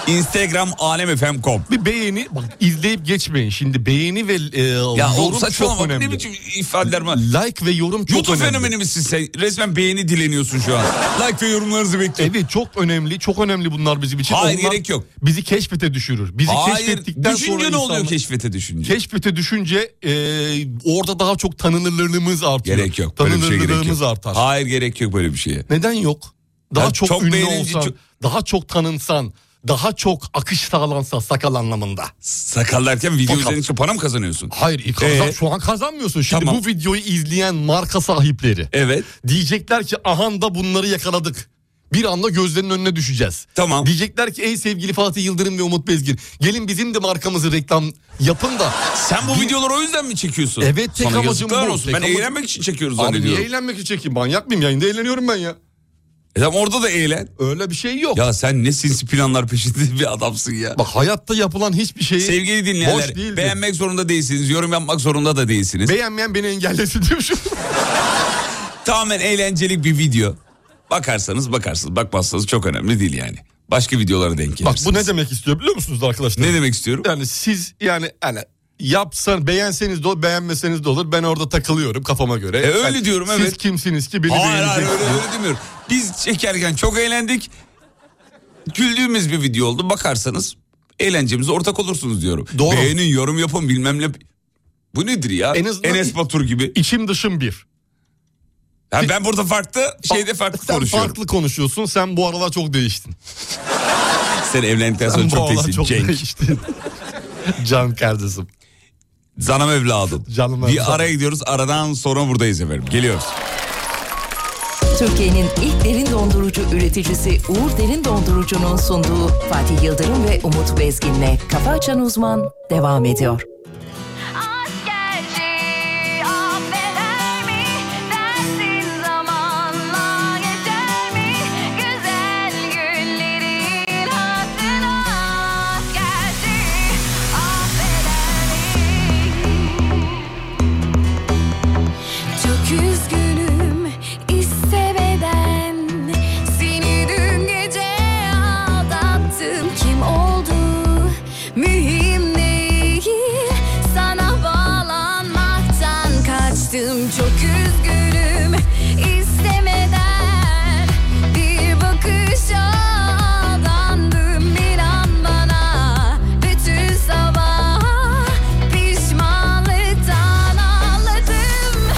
Instagram alemfm.com. Bir beğeni bak izleyip geçmeyin. Şimdi beğeni ve e, Ya oğlum yorum çok saçmalama önemli. ne biçim ifadeler var. Like ve yorum çok YouTube önemli. fenomeni misin sen? Resmen beğeni dileniyorsun şu an. like ve yorumlarınızı bekliyorum. Evet çok önemli. Çok önemli bunlar bizim için. Hayır, Onlar gerek yok. Bizi keşfete düşürür. Bizi Hayır. keşfettikten Düşünce sonra ne oluyor insanlar- keşfete düşünce? Keşfete düşünce e, orada daha çok tanınırlığımız artıyor. gerek yok. Böyle bir şey gerek Tanınırlığımız yok. artar. Hayır gerek yok böyle bir şeye. Neden yok? Daha Yani çok, çok ünlü beğenince olsan, çok- daha çok tanınsan, daha çok akış sağlansa sakal anlamında. Sakallarken video Sakal. üzerinde para mı kazanıyorsun? Hayır ilk E, kazan- Ee? şu an kazanmıyorsun. Şimdi Tamam. bu videoyu izleyen marka sahipleri Evet. diyecekler ki ahan da bunları yakaladık. Bir anda gözlerinin önüne düşeceğiz. Tamam. Diyecekler ki ey sevgili Fatih Yıldırım ve Umut Bezgin gelin bizim de markamızı reklam yapın da. Sen bu Bir- videoları o yüzden mi çekiyorsun? Evet, tek Sana amacım yazıklar bu, olsun. tek ben amacım- eğlenmek için çekiyoruz Abi niye zannediyorum. eğlenmek için çekeyim manyak mıyım yayında eğleniyorum ben ya. E tamam orada da eğlen. Öyle bir şey yok. Ya sen ne [LAUGHS] sinsi planlar peşinde [LAUGHS] bir adamsın ya. Bak hayatta yapılan hiçbir şeyi Sevgili boş dinleyenler değildir. beğenmek zorunda değilsiniz. Yorum yapmak zorunda da değilsiniz. Beğenmeyen beni engellesin şey diyormuşum. Tamamen eğlenceli bir video. Bakarsanız bakarsınız bakmazsanız çok önemli değil yani. Başka videolara denk Bak gelirsiniz. bu ne demek istiyor biliyor musunuz arkadaşlar? Ne demek istiyorum? Yani siz yani hani yapsan beğenseniz de olur beğenmeseniz de olur. Ben orada takılıyorum kafama göre. E, öyle Yani diyorum, evet. Siz kimsiniz ki beni hayır hayır beğeneceksiniz? öyle, öyle demiyorum. Biz çekerken çok eğlendik. Güldüğümüz bir video oldu. Bakarsanız eğlencemize ortak olursunuz diyorum. Doğru. Beğenin, yorum yapın bilmem ne. Bu nedir ya? En azından- Enes Batur gibi. İçim dışım bir. Ha, ben burada farklı şeyde farklı sen konuşuyorum. farklı konuşuyorsun. Sen bu aralar çok değiştin. [LAUGHS] Sen evlendikten sonra Sen bu çok aralar teksin. Cenk. değiştin. Can kardeşim. Canım evladım. Canım evladım. Bir araya gidiyoruz. Aradan sonra buradayız efendim. Geliyoruz. Türkiye'nin ilk derin dondurucu üreticisi Uğur Derin Dondurucu'nun sunduğu Fatih Yıldırım ve Umut Bezgin'le Kafa Açan Uzman devam ediyor. Aşk gerçeği affeder mi? Dersin zamanla geçer mi? Güzel günlerin hatırına aşk gerçeği affeder mi? Çok üzgünüm istemeden Seni dün gece aldattım Kim oldu mühim değil Sana bağlanmaktan kaçtım Çok üzgünüm istemeden Bir bakışa aldandım İnan bana bütün sabah Pişmanlıktan ağladım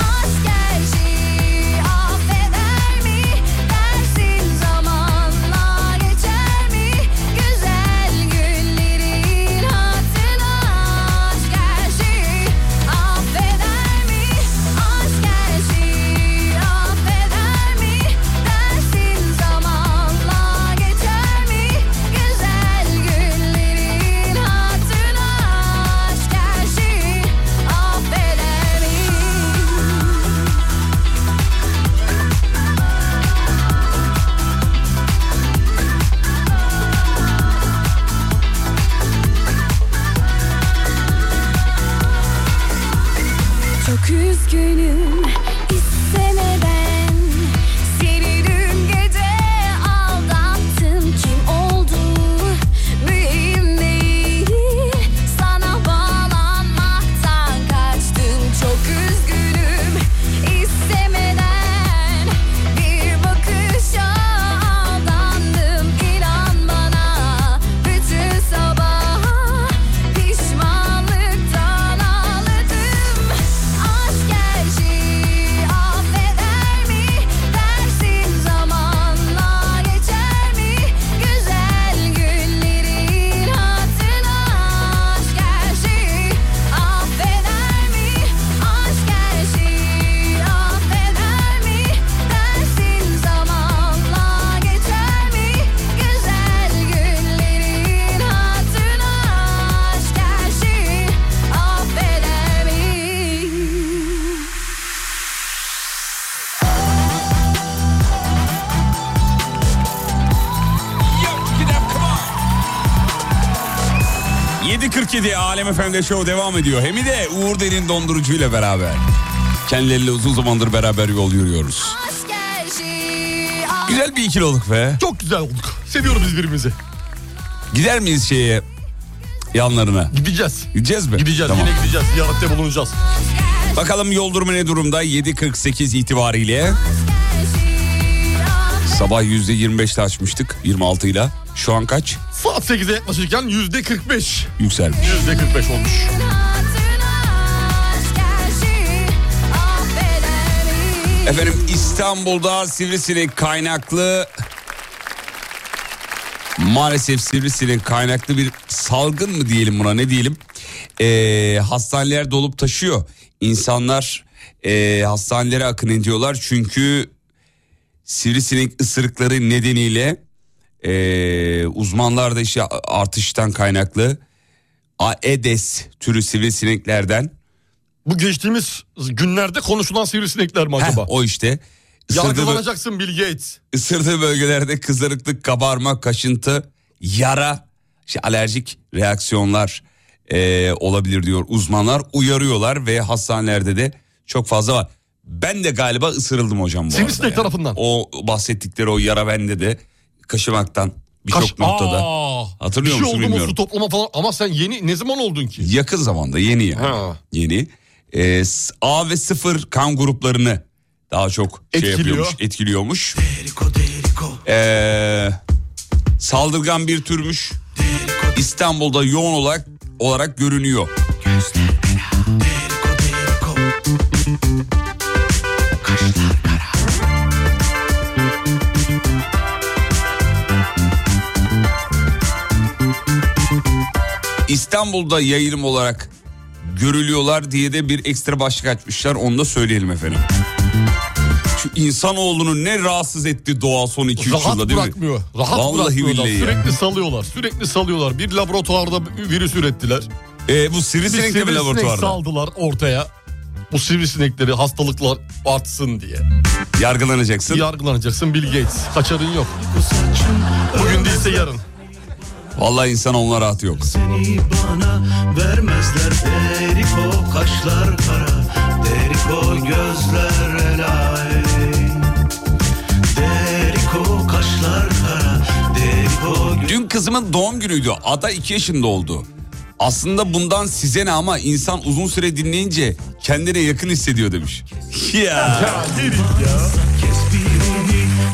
Aşk gerçeği affeder mi? Dersin zamanla geçer mi? Güzel günlerin hatırına Aşk gerçeği affeder mi? Aşk gerçeği affeder mi? Dersin zamanla geçer mi? Güzel günlerin hatırına Aşk gerçeği affeder mi? Çok üzgünüm istemeden Seni dün gece aldattım Kim oldu mühim değil Sana bağlanmaktan kaçtım Çok üzgünüm istemeden Bir bakışa aldandım İnan bana bütün sabah Pişmanlıktan ağladım Aşk gerçeği affeder mi? Dersin zamanla geçer mi? Güzel günlerin hatırına Aşk gerçeği affeder mi? Aşk gerçeği affeder mi? Dersin zamanla geçer mi? Güzel günlerin hatırına Aşk gerçeği affeder mi? Yo, get up, come on. 7.47 Alem Efendi Show devam ediyor. Hem de Uğur Derin Dondurucu ile beraber. Kendileriyle uzun zamandır beraber yol yürüyoruz. Aşk gerçeği affeder Güzel bir ikiloluk be. Çok güzel olduk. Seviyoruz biz birbirimizi. Gider miyiz şeye yanlarına? Gideceğiz. Gideceğiz mi? Gideceğiz Tamam. yine gideceğiz. Ziyarette bulunacağız. Bakalım yol durumu ne durumda? 7.48 itibariyle sabah %25'te açmıştık 26 ile. Şu an kaç? Saat 8'e yaklaşırken yüzde 45. Yükselmiş. Yüzde 45 olmuş. mi? Efendim İstanbul'da sivrisinek kaynaklı maalesef sivrisinek kaynaklı bir salgın mı diyelim buna ne diyelim Ee, hastaneler dolup taşıyor insanlar e, hastanelere akın ediyorlar çünkü sivrisinek ısırıkları nedeniyle e, uzmanlar da işte artıştan kaynaklı Aedes türü sivrisineklerden Bu geçtiğimiz günlerde konuşulan sivrisinekler mi Heh, acaba? o işte ısırdığı, bö- Yargılanacaksın Bill Gates. ısırdığı bölgelerde kızarıklık, kabarma, kaşıntı, yara, işte alerjik reaksiyonlar e, olabilir diyor uzmanlar. Uyarıyorlar ve hastanelerde de çok fazla var. Ben de galiba ısırıldım hocam bu arada. Sivrisinek ya. tarafından. O bahsettikleri o yara bende de kaşımaktan birçok Kaş- noktada. Aa! Hatırlıyor bir şey musun oldu mu bilmiyorum. su toplama falan ama sen yeni ne zaman oldun ki? Yakın zamanda yeni yani. Ha. Yeni. E, s- A ve sıfır kan gruplarını daha çok şey Etkiliyor. yapıyormuş, etkiliyormuş. Ee, saldırgan bir türmüş. İstanbul'da yoğun olarak olarak görünüyor. İstanbul'da yayılım olarak görülüyorlar diye de bir ekstra başlık açmışlar. Onu da söyleyelim efendim. Şu insanoğlunu ne rahatsız etti doğa son 2-3 yılda değil mi? Rahat bırakmıyor. Rahat Vallahi bırakmıyor. billahi ya. Sürekli salıyorlar. Sürekli salıyorlar. Bir laboratuvarda virüs ürettiler. Ee, bu Bir sivrisinek de mi sivrisinek laboratuvarda? saldılar ortaya. Bu sivrisinekleri hastalıklar artsın diye. Yargılanacaksın. Yargılanacaksın Bill Gates. Kaçarın yok. Bugün değilse yarın. Vallahi insan onlar rahatı yok. Seni bana vermezler Periko kaşlar kara Deriko gözler el alem. Deriko kaşlar kara Deriko Dün kızımın doğum günüydü. Ada 2 yaşında oldu. Aslında bundan size ne ama insan uzun süre dinleyince kendine yakın hissediyor demiş. [LAUGHS] Ya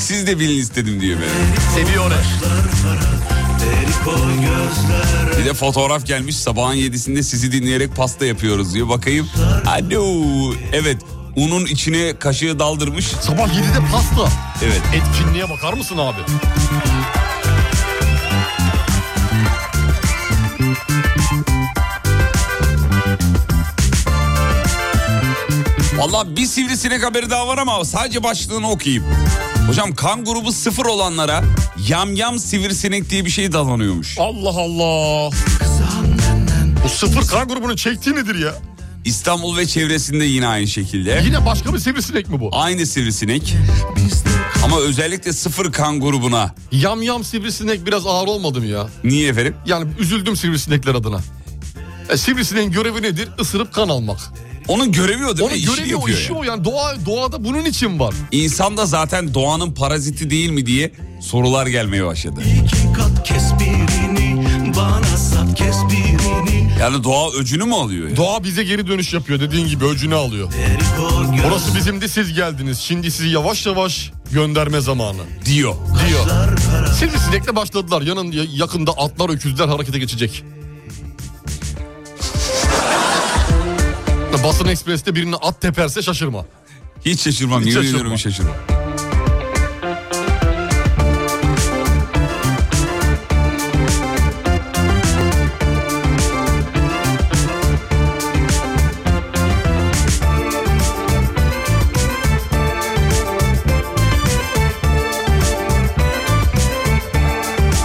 siz de bilin istedim diye mi? Seviyor. Bir de fotoğraf gelmiş sabahın yedisinde sizi dinleyerek pasta yapıyoruz diyor. Bakayım. Alo. Evet unun içine kaşığı daldırmış. Sabah 7'de pasta. Evet. Etkinliğe bakar mısın abi? Valla bir sivrisinek haberi daha var ama sadece başlığını okuyayım. Hocam kan grubu sıfır olanlara yamyam sivrisinek diye bir şey dalanıyormuş. Allah Allah. Bu sıfır kan grubunun çektiği nedir ya? İstanbul ve çevresinde yine aynı şekilde. Yine başka bir sivrisinek mi bu? Aynı sivrisinek. Ama özellikle sıfır kan grubuna. Yam yam sivrisinek biraz ağır olmadı mı ya? Niye efendim? Yani üzüldüm sivrisinekler adına. E, sivrisineğin görevi nedir? Isırıp kan almak. Onun görevi o değil mi? Onun İşini görevi o yapıyor işi yani. o yani. Doğa, doğada bunun için var. İnsan da zaten doğanın paraziti değil mi diye sorular gelmeye başladı. iki kat kes birini Bana sat kes birini Yani doğa öcünü mü alıyor? ya? Doğa bize geri dönüş yapıyor dediğin gibi öcünü alıyor. Deriko göz Orası bizimdi siz geldiniz. Şimdi sizi yavaş yavaş gönderme zamanı Diyor. diyor. Sivrisinekle başladılar. Yanın ya- yakında atlar öküzler harekete geçecek. Basın Ekspres'te birine at teperse şaşırma. Hiç şaşırmam. Hiç Yemin şaşırma. ediyorum hiç şaşırmam.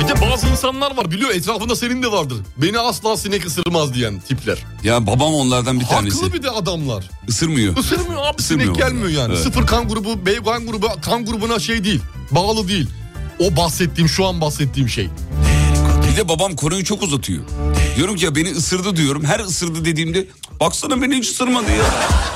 Bir de bazı insanlar var biliyor etrafında senin de vardır. Beni asla sinek ısırmaz diyen tipler. Ya babam onlardan bir tanesi. Haklı bir de adamlar. Isırmıyor. Isırmıyor abi Isırmıyor sinek gelmiyor onlar. yani. Evet. Sıfır kan grubu, B kan grubu, kan grubuna şey değil. Bağlı değil. O bahsettiğim şu an bahsettiğim şey. Bir de babam konuyu çok uzatıyor. Diyorum ki ya beni ısırdı diyorum. Her ısırdı dediğimde "Cık, baksana beni hiç ısırmadı ya.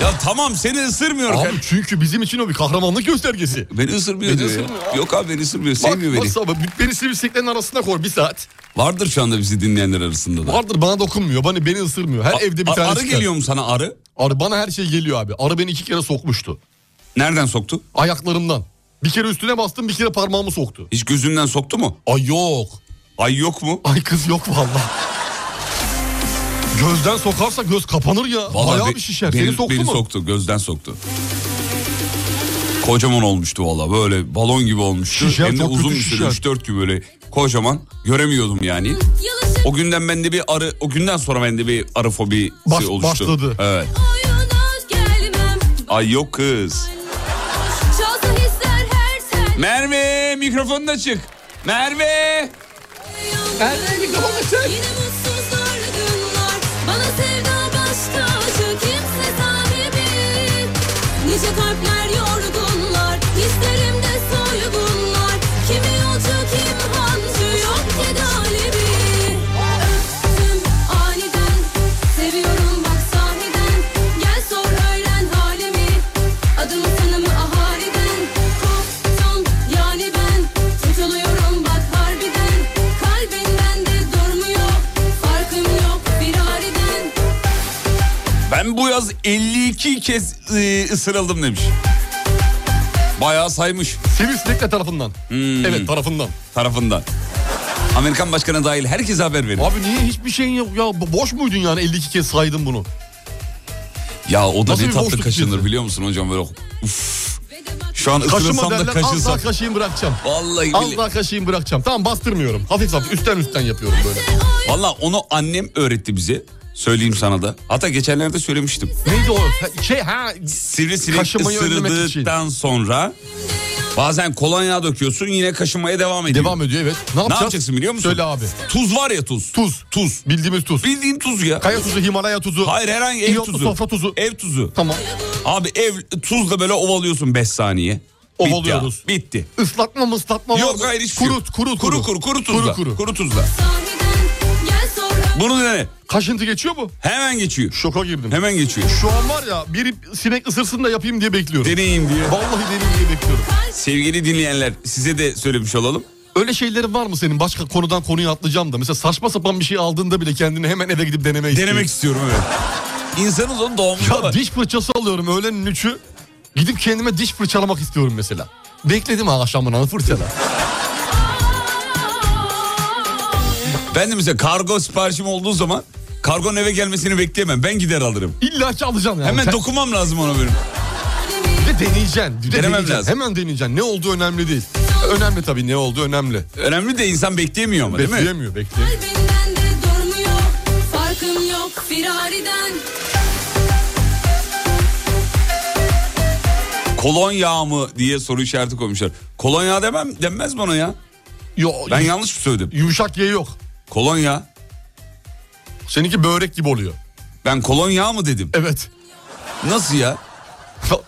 Ya tamam seni ısırmıyor. Abi kardeşim. çünkü bizim için o bir kahramanlık göstergesi. Beni ısırmıyor Beni diyor ısırmıyor ya. abi. Yok abi beni ısırmıyor. Sevmiyor Bak, beni. Nasıl ama beni sivrisineklerin arasına koy bir saat. Vardır şu anda bizi dinleyenler arasında da. Vardır bana dokunmuyor. Bana beni ısırmıyor. Her A- evde bir a- tane Arı çıkar. geliyor mu sana arı? Arı bana her şey geliyor abi. Arı beni iki kere sokmuştu. Nereden soktu? Ayaklarımdan. Bir kere üstüne bastım bir kere parmağımı soktu. Hiç gözünden soktu mu? Ay yok. Ay yok mu? Ay kız yok vallahi. Gözden sokarsa göz kapanır ya. Vallahi Bayağı be- bir şişer. Beni, Seni soktu beni mu? soktu gözden soktu. Kocaman olmuştu valla böyle balon gibi olmuştu. Şişer, Hem de çok kötü uzun bir süre şişer. 3-4 gün böyle kocaman göremiyordum yani. O günden bende bir arı o günden sonra bende bir arı fobisi Baş- oluştu. başladı. Evet. Ay yok kız. Merve mikrofonun açık. Merve. Yine mutsuz zorlu günler Bana sevda başka acı kimse sahibi Nice kalpler yorgunlar İsterim de soygunlar Kimi yolcu kim hancı yok ki galibi Öptüm aniden Seviyorum bak sahiden Gel sor öğren halimi Adımı tanımı ahaliden Koptum yani ben Tutuluyorum bak harbiden Kalbin bende durmuyor Farkım yok bir haliden Ben bu yaz 52 kez e, ısırıldım demiş. Bayağı saymış Hmm. Sivrisinekle tarafından. Evet tarafından. tarafından. Amerikan başkanı dahil herkese haber verin. Abi niye hiçbir şeyin yok ya? Bo- Boş muydun yani 52 kez saydın bunu? Ya o da Nasıl ne bir tatlı boşluk kaşınır diyorsun? biliyor musun hocam böyle uf. Şu an Kaşıma ısırırsam da derler az daha kaşırsam. kaşıyım bırakacağım. Vallahi Az bile. daha kaşıyım bırakacağım. Tamam bastırmıyorum. Hafif hafif üstten üstten yapıyorum böyle. Valla onu annem öğretti bize. Söyleyeyim sana da. Hatta geçenlerde söylemiştim. Neydi o? Ha, Şey ha Sivrisinek Kaşınmayı önlemek ısırdıktan sonra bazen kolonya döküyorsun yine kaşınmaya devam ediyor. devam ediyor evet. Ne, Ne yapacağız? yapacaksın biliyor musun? Söyle abi. Tuz var ya tuz. Tuz. Tuz. Bildiğimiz tuz. Bildiğin tuz ya. Kaya tuzu, Himalaya tuzu. Hayır herhangi ev İyotlu tuzu. sofra tuzu. Ev tuzu. Tamam. Abi ev tuzla böyle ovalıyorsun 5 saniye. Bitti Ovalıyoruz. ya, Bitti. Islatma mı ıslatma mı? Yok hayır hiç kurut, kurut, kuru kuru kuru tuzla. Kuru Kuru, kuru. tuzla. Sahiden gel sonra Bunu dene. Kaşıntı geçiyor mu? Hemen geçiyor. Şoka girdim. Hemen geçiyor. Şu an var ya bir sinek ısırsın da yapayım diye bekliyorum. Deneyim diye. Vallahi deneyim diye bekliyorum. Sevgili dinleyenler size de söylemiş olalım. Öyle şeylerin var mı senin? Başka konudan konuya atlayacağım da. Mesela saçma sapan bir şey aldığında bile kendini hemen eve gidip deneme istiyorsun. Denemek istiyorum evet. İnsanız onun doğumunda Ya var. diş fırçası alıyorum öğlenin üçü. Gidip kendime diş fırçalamak istiyorum mesela. Bekledim ha akşamına fırçala. Ben de mesela kargo siparişim olduğu zaman kargonun eve gelmesini bekleyemem. Ben gider alırım. İlla ki alacaksın yani. Hemen Sen dokunmam lazım ona benim. de deneyeceksin. Bir de Denemem deneyeceksin. lazım. Hemen deneyeceksin. Ne olduğu önemli değil. Önemli tabii ne olduğu önemli. Önemli de insan bekleyemiyor ama değil mi? Bekleyemiyor bekleyemiyor. kalbinden de durmuyor Farkım yok firariden Kolonya mı diye soru işareti koymuşlar. Kolonya demem denmez bana ya. Yo, Ben yum- yanlış mı söyledim? Yumuşak ye yok. Kolonya. Seninki börek gibi oluyor. Ben kolonya mı dedim? Evet. Nasıl ya?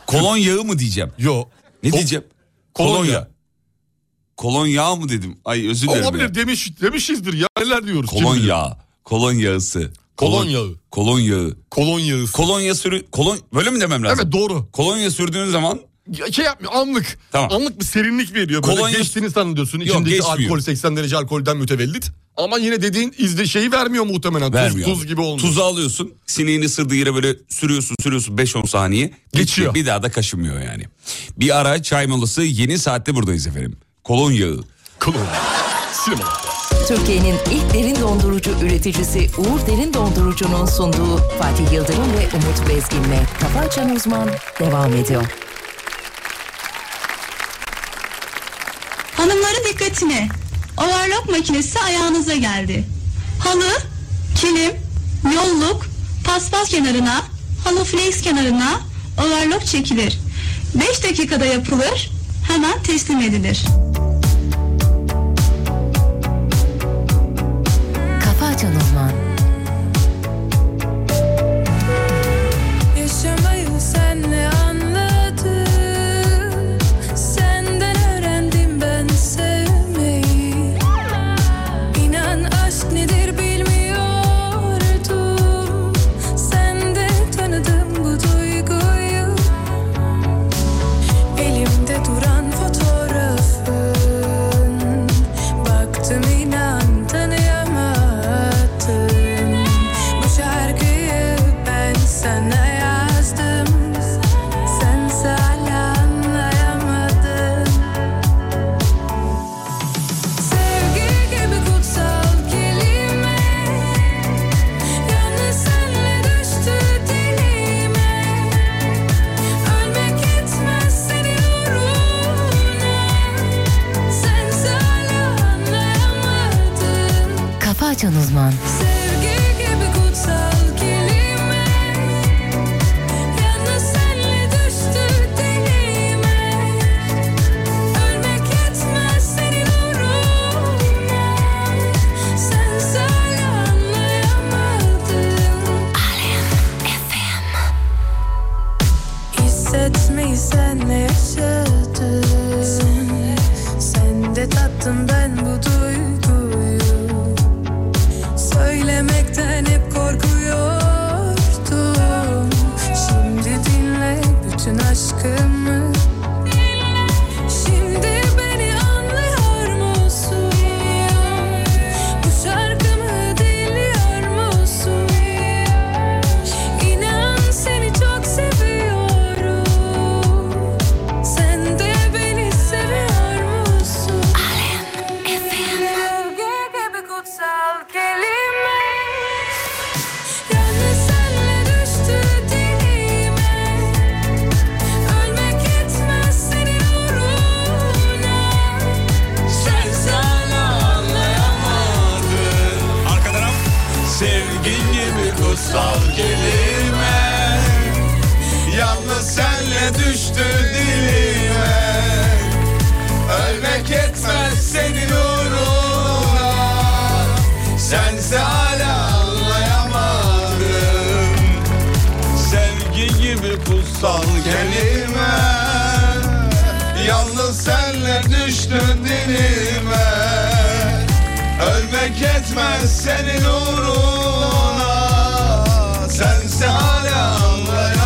Kolon yağı mı diyeceğim? Yo. Ne O- diyeceğim? kolonya. Kolonya. Kolonya mı dedim? Ay özür dilerim. ya. Olabilir demiş, demişizdir ya. Neler diyoruz? kim Kolon bilir? yağı. Kolon yağısı. Kolon yağı. Kolon yağı. Kolon yağı. Kolonya sürü... Kolon... Böyle mi demem lazım? Evet doğru. Kolonya sürdüğün zaman Ya- Şey yapmıyor anlık. Tamam. Anlık bir serinlik veriyor. Böyle Kolonya- geçtiğini sanıyorsun. Yok, İçindeki geçmiyor. alkol 80 derece alkolden mütevellit. Ama yine dediğin izde şeyi vermiyor muhtemelen. Tuz- vermiyor. Tuz, abi. gibi olmuyor. Tuzu alıyorsun. Sineğini ısırdığı yere böyle sürüyorsun sürüyorsun 5-10 saniye. Bitti. Geçiyor. Bir daha da kaşınmıyor yani. Bir ara çay molası yeni saatte buradayız efendim. Kolon yağı. Kolon. Sinema. Türkiye'nin ilk derin dondurucu üreticisi Uğur Derin Dondurucu'nun sunduğu Fatih Yıldırım ve Umut Bezgin'le Kafa Açan Uzman devam ediyor. Hanımların dikkatine. Overlock makinesi ayağınıza geldi. Halı, kilim, yolluk, paspas kenarına, halı flex kenarına overlock çekilir. 5 dakikada yapılır, hemen teslim edilir. Kafa Açan Uzman Yaşamayı senle anladım Senden öğrendim ben sevmeyi İnan aşk nedir bilmiyordum Sende tanıdım bu duyguyu Elimde duran fotoğrafın Baktım inan tanıyamadım Bu şarkıyı ben sana yazdım Sen hala anlayamadın Sevgi gibi kutsal kelime Yalnız senle düştü dilime Ölmek etmez seni uğruna Sen hala anlayamadın Kafa Açan Uzman Sevgi gibi kutsal kelime Yalnız senle düştü dilime Ölmek etmez senin uğruna Sen hala anlayamadın Hissetmeyi senle yaşadım Sen de tattım ben bu duyguyu Söylemekten hep korkuyordum Şimdi dinle bütün aşkımı Şimdi beni anlıyor musun? Bu şarkımı dinliyor musun? İnan seni çok seviyorum Sen de beni seviyor musun? Sevgi gibi kutsal kelime Yalnız senle düştü dilime Ölmek Sense hala anlayamadım Sevgi gibi kutsal kelime Yalnız senle düştün dilime Ölmek etmez senin uğruna Sense hala anlayamadım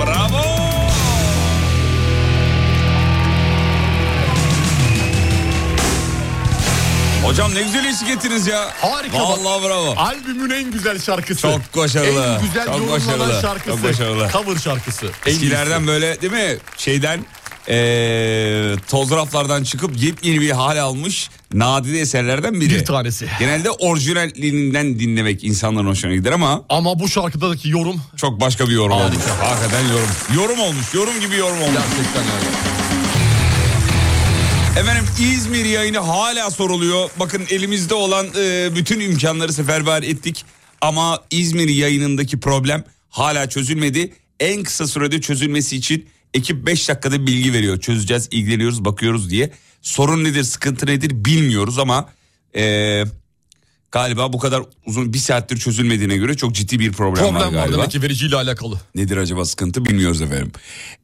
Bravo! Hocam ne güzel iş getirdiniz ya. Harika. bak. Vallahi bravo. Albümün en güzel şarkısı. Çok başarılı. En güzel Çok yorumlanan başarılı. şarkısı. Çok başarılı. Cover şarkısı. En Eskilerden böyle değil mi şeyden eee toz raflardan çıkıp yepyeni bir hal almış nadide eserlerden biri. güzeli. bir tanesi. Genelde orijinalinden dinlemek insanların hoşuna gider ama Ama bu şarkıdaki yorum çok başka bir yorum Harika. olmuş. Hakikaten yorum. Yorum olmuş. Yorum gibi yorum olmuş. gerçekten öyle. Efendim İzmir yayını hala soruluyor. Bakın elimizde olan e, bütün imkanları seferber ettik. Ama İzmir yayınındaki problem hala çözülmedi. En kısa sürede çözülmesi için ekip 5 dakikada bilgi veriyor. Çözeceğiz, ilgileniyoruz, bakıyoruz diye. Sorun nedir, sıkıntı nedir bilmiyoruz ama... e, galiba bu kadar uzun bir saattir çözülmediğine göre çok ciddi bir problem, var Problem var galiba. demek ki vericiyle alakalı. Nedir acaba sıkıntı bilmiyoruz efendim.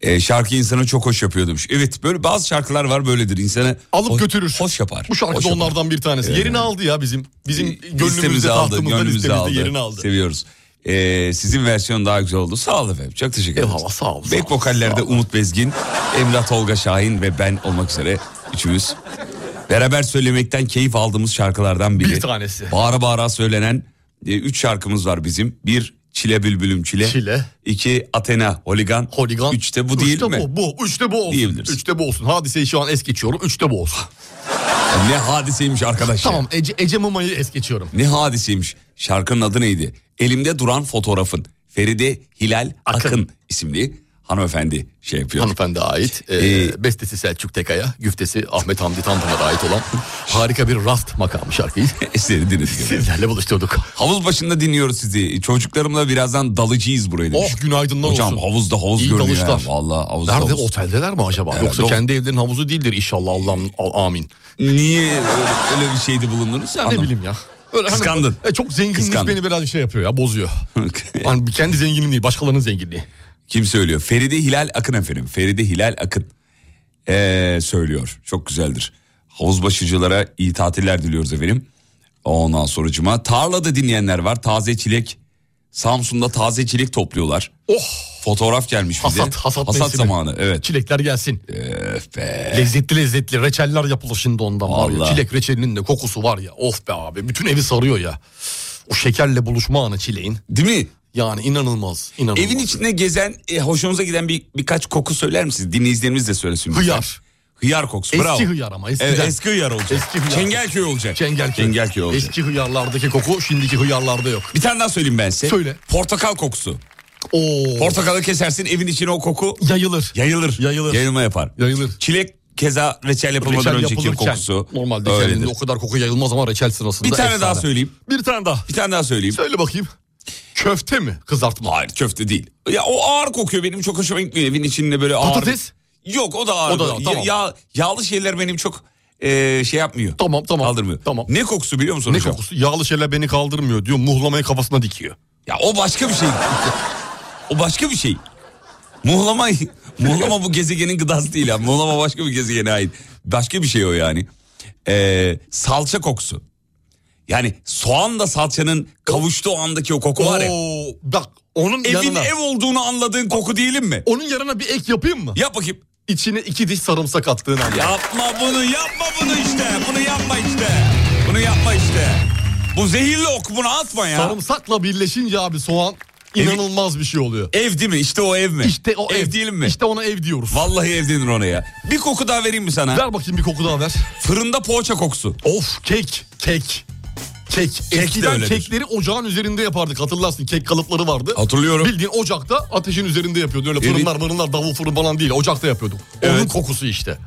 E, şarkı insana çok hoş yapıyor demiş. Evet böyle bazı şarkılar var böyledir insanı Alıp hoş- götürür. Hoş yapar. Bu şarkı hoş da yapar. onlardan bir tanesi. Evet. Yerini aldı ya bizim. Bizim gönlümüzde, Listemize aldı, tahtımızda, gönlümüze listemizde aldı. yerini aldı. Seviyoruz. E, sizin versiyon daha güzel oldu. Sağ olun efendim. Çok teşekkür ederim. Eyvallah, sağ ol, sağ Back ol, vokallerde sağ ol. Umut Bezgin, Emrah Tolga Şahin ve ben olmak üzere üçümüz beraber söylemekten keyif aldığımız şarkılardan biri. Bir tanesi. Bağıra bağıra söylenen e, üç şarkımız var bizim. Bir Çile Bülbülüm Çile. Çile. İki Athena Holigan. Holigan. Üçte bu değil Üçte mi? Bu, bu. Üçte bu olsun. Diyebiliriz. Üçte bu olsun. Hadiseyi şu an es geçiyorum. Üçte bu olsun. [LAUGHS] Ne hadiseymiş arkadaş. ya. Tamam Ece, Ece Muma'yı es geçiyorum. Ne hadiseymiş. Şarkının adı neydi? Elimde duran fotoğrafın. Feride Hilal Akın, Akın. isimli hanımefendi şey yapıyor. Hanımefendi ait. e, Ee, bestesi Selçuk Tekaya. Güftesi Ahmet Hamdi Tanpınar'a ait olan [LAUGHS] harika bir rast makamı şarkıyı. Esleri dinledik. Sizlerle buluşturduk. Havuz başında dinliyoruz sizi. Çocuklarımla birazdan dalıcıyız buraya demiş. Oh günaydınlar Hocam olsun. havuzda havuz İyi görünüyor. dalışlar. ya. Vallahi havuzda Nerede havuz. oteldeler mi acaba? Herhalde Yoksa o- kendi evlerinin havuzu değildir inşallah Allah'ım al- amin. Niye öyle, öyle bir şeyde bulundunuz? Ne Anlamadım. bileyim ya. Öyle hani- Kıskandın. e, çok zenginlik Kıskandın. beni biraz şey yapıyor ya [LAUGHS] bozuyor. hani bir kendi zenginliğim değil başkalarının zenginliği. Kim söylüyor? Feride Hilal Akın efendim. Feride Hilal Akın ee, söylüyor. Çok güzeldir. Havuz başıcılara iyi tatiller diliyoruz efendim. Ondan sonracıma tarlada dinleyenler var. Taze çilek. Samsun'da taze çilek topluyorlar. Oh Fotoğraf gelmiş bize. hasat hasat, hasat mevsimi. zamanı evet. Çilekler gelsin. Öf be. Lezzetli lezzetli reçeller yapılır şimdi ondan var ya. Allah. Çilek reçelinin de kokusu var ya. Of be abi bütün evi sarıyor ya. O şekerle buluşma anı çileğin. Değil mi? Yani inanılmaz. inanılmaz. Evin içinde gezen, e, hoşunuza giden bir birkaç koku söyler misiniz? Dinleyicilerimiz de söylesin. lütfen. Hıyar. Hıyar kokusu. Eski bravo. hıyar ama eskiden. Evet, eski hıyar olacak. Eski hıyar. Çengelköy olacak. Çengelköy. Çengelköy olacak. Eski hıyarlardaki koku şimdiki hıyarlarda yok. Bir tane daha söyleyeyim ben size. Söyle. Portakal kokusu. Oo. Portakalı kesersin evin içine o koku yayılır. yayılır. Yayılır. Yayılma yapar. Yayılır. Çilek keza reçel yapılmadan Reçel önceki yapılırken kokusu. Normalde öyledir. kendinde o kadar koku yayılmaz ama reçel sırasında Bir tane efsane. daha söyleyeyim. Bir tane daha. Bir tane daha söyleyeyim. Söyle bakayım. Köfte mi? Kızartma. Hayır köfte değil. Ya o ağır kokuyor benim çok hoşuma gitmiyor evin içinde böyle ağır. Patates? Yok o da ağır. O da- Ya- tamam. ya, yağlı şeyler benim çok e, şey yapmıyor. Tamam tamam. Kaldırmıyor. Tamam. Ne kokusu biliyor musun Ne hocam? kokusu? Yağlı şeyler beni kaldırmıyor diyor. Muhlamayı kafasına dikiyor. Ya o başka bir şey. o başka bir şey. Muhlama, [LAUGHS] muhlama bu gezegenin gıdası değil. ha. Muhlama başka bir gezegene ait. Başka bir şey o yani. Ee, salça kokusu. Yani soğanla salçanın kavuştuğu andaki o koku var ya. Oo, bak onun Evin yanına ev olduğunu anladığın koku değilim mi? onun yanına bir ek yapayım mı? Yap bakayım. İçine iki diş sarımsak attığın halde. Yapma bunu yapma bunu işte. Bunu yapma işte. Bunu yapma işte. Bu zehirli ok bunu atma ya. Sarımsakla birleşince abi soğan inanılmaz bir şey oluyor. ev değil mi? İşte o ev mi? İşte o ev, ev değil mi? İşte ona ev diyoruz. Vallahi ev denir ona ya. Bir koku daha vereyim mi sana? Ver bakayım bir koku daha ver. Fırında poğaça kokusu. Of kek, kek. Kek. de Eskiden öyledir. kekleri ocağın üzerinde yapardık hatırlarsın. Kek kalıpları vardı. Hatırlıyorum. Bildiğin ocakta ateşin üzerinde yapıyordu. Öyle Evet. fırınlar mırınlar davul fırın falan değil. Ocakta yapıyorduk. Onun Evet. kokusu işte.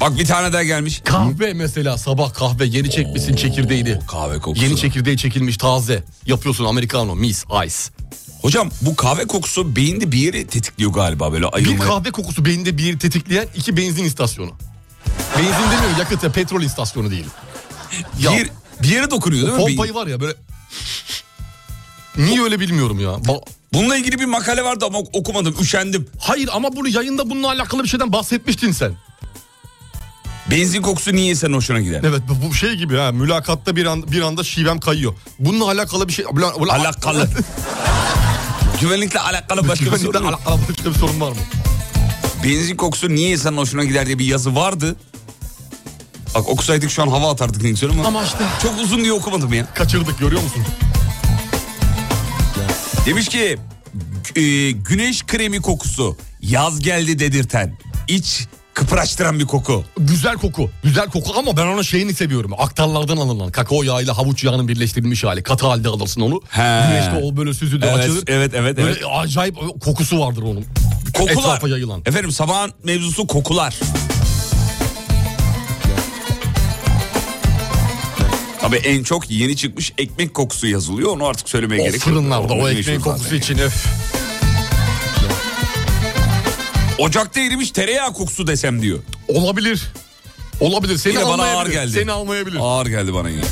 Bak bir tane daha gelmiş. Kahve mesela sabah kahve yeni çekmişsin çekirdeğini. Kahve kokusu. Yeni çekirdeği çekilmiş taze. Yapıyorsun americano, mis, ice. Hocam bu kahve kokusu beyinde bir yeri tetikliyor galiba böyle Bir ayılmayı. kahve kokusu beyinde bir yeri tetikleyen iki benzin istasyonu. Benzin demiyor yakıt ya petrol istasyonu değil. Ya Bir Bir yere dokunuyor değil mi? Bir- Pompayı var ya böyle... Niye öyle bilmiyorum ya. Ba- Bununla ilgili bir makale vardı ama okumadım. Üşendim. Hayır ama bunu yayında bununla alakalı bir şeyden bahsetmiştin sen. Benzin kokusu niye senin hoşuna gider? Evet bu bu şey gibi ha mülakatta bir an, bir anda şivem kayıyor. Bununla alakalı bir şey... Ulan- ulan- [LAUGHS] Alakalı. Güvenlikle alakalı başka bir Güvenlikle sorun yok. alakalı başka bir sorun var mı? Benzin kokusu niye insanın hoşuna gider diye bir yazı vardı. Bak okusaydık şu an hava atardık Nilsson ama. Ama işte. Çok uzun diye okumadım ya. Kaçırdık görüyor musun? Demiş ki e, güneş kremi kokusu yaz geldi dedirten iç kıpraştıran bir koku. Güzel koku. Güzel koku ama ben onun şeyini seviyorum. Aktarlardan alınan kakao yağıyla havuç yağının birleştirilmiş hali. Katı halde alırsın onu. He. Güneşte o böyle süzülür Evet, açılır. evet, evet, Böyle evet. acayip kokusu vardır onun. Kokular. Etrafa yayılan. Efendim sabahın mevzusu kokular. Tabii en çok yeni çıkmış ekmek kokusu yazılıyor. Onu artık söylemeye O gerek yok. fırınlarda o Onu ekmeğin meşhur kokusu zaten. için öf. Ocakta erimiş tereyağı kokusu desem diyor. Olabilir. Olabilir. Seni Yine bana almayabilir. ağır geldi. Seni almayabilir. Ağır geldi bana yine.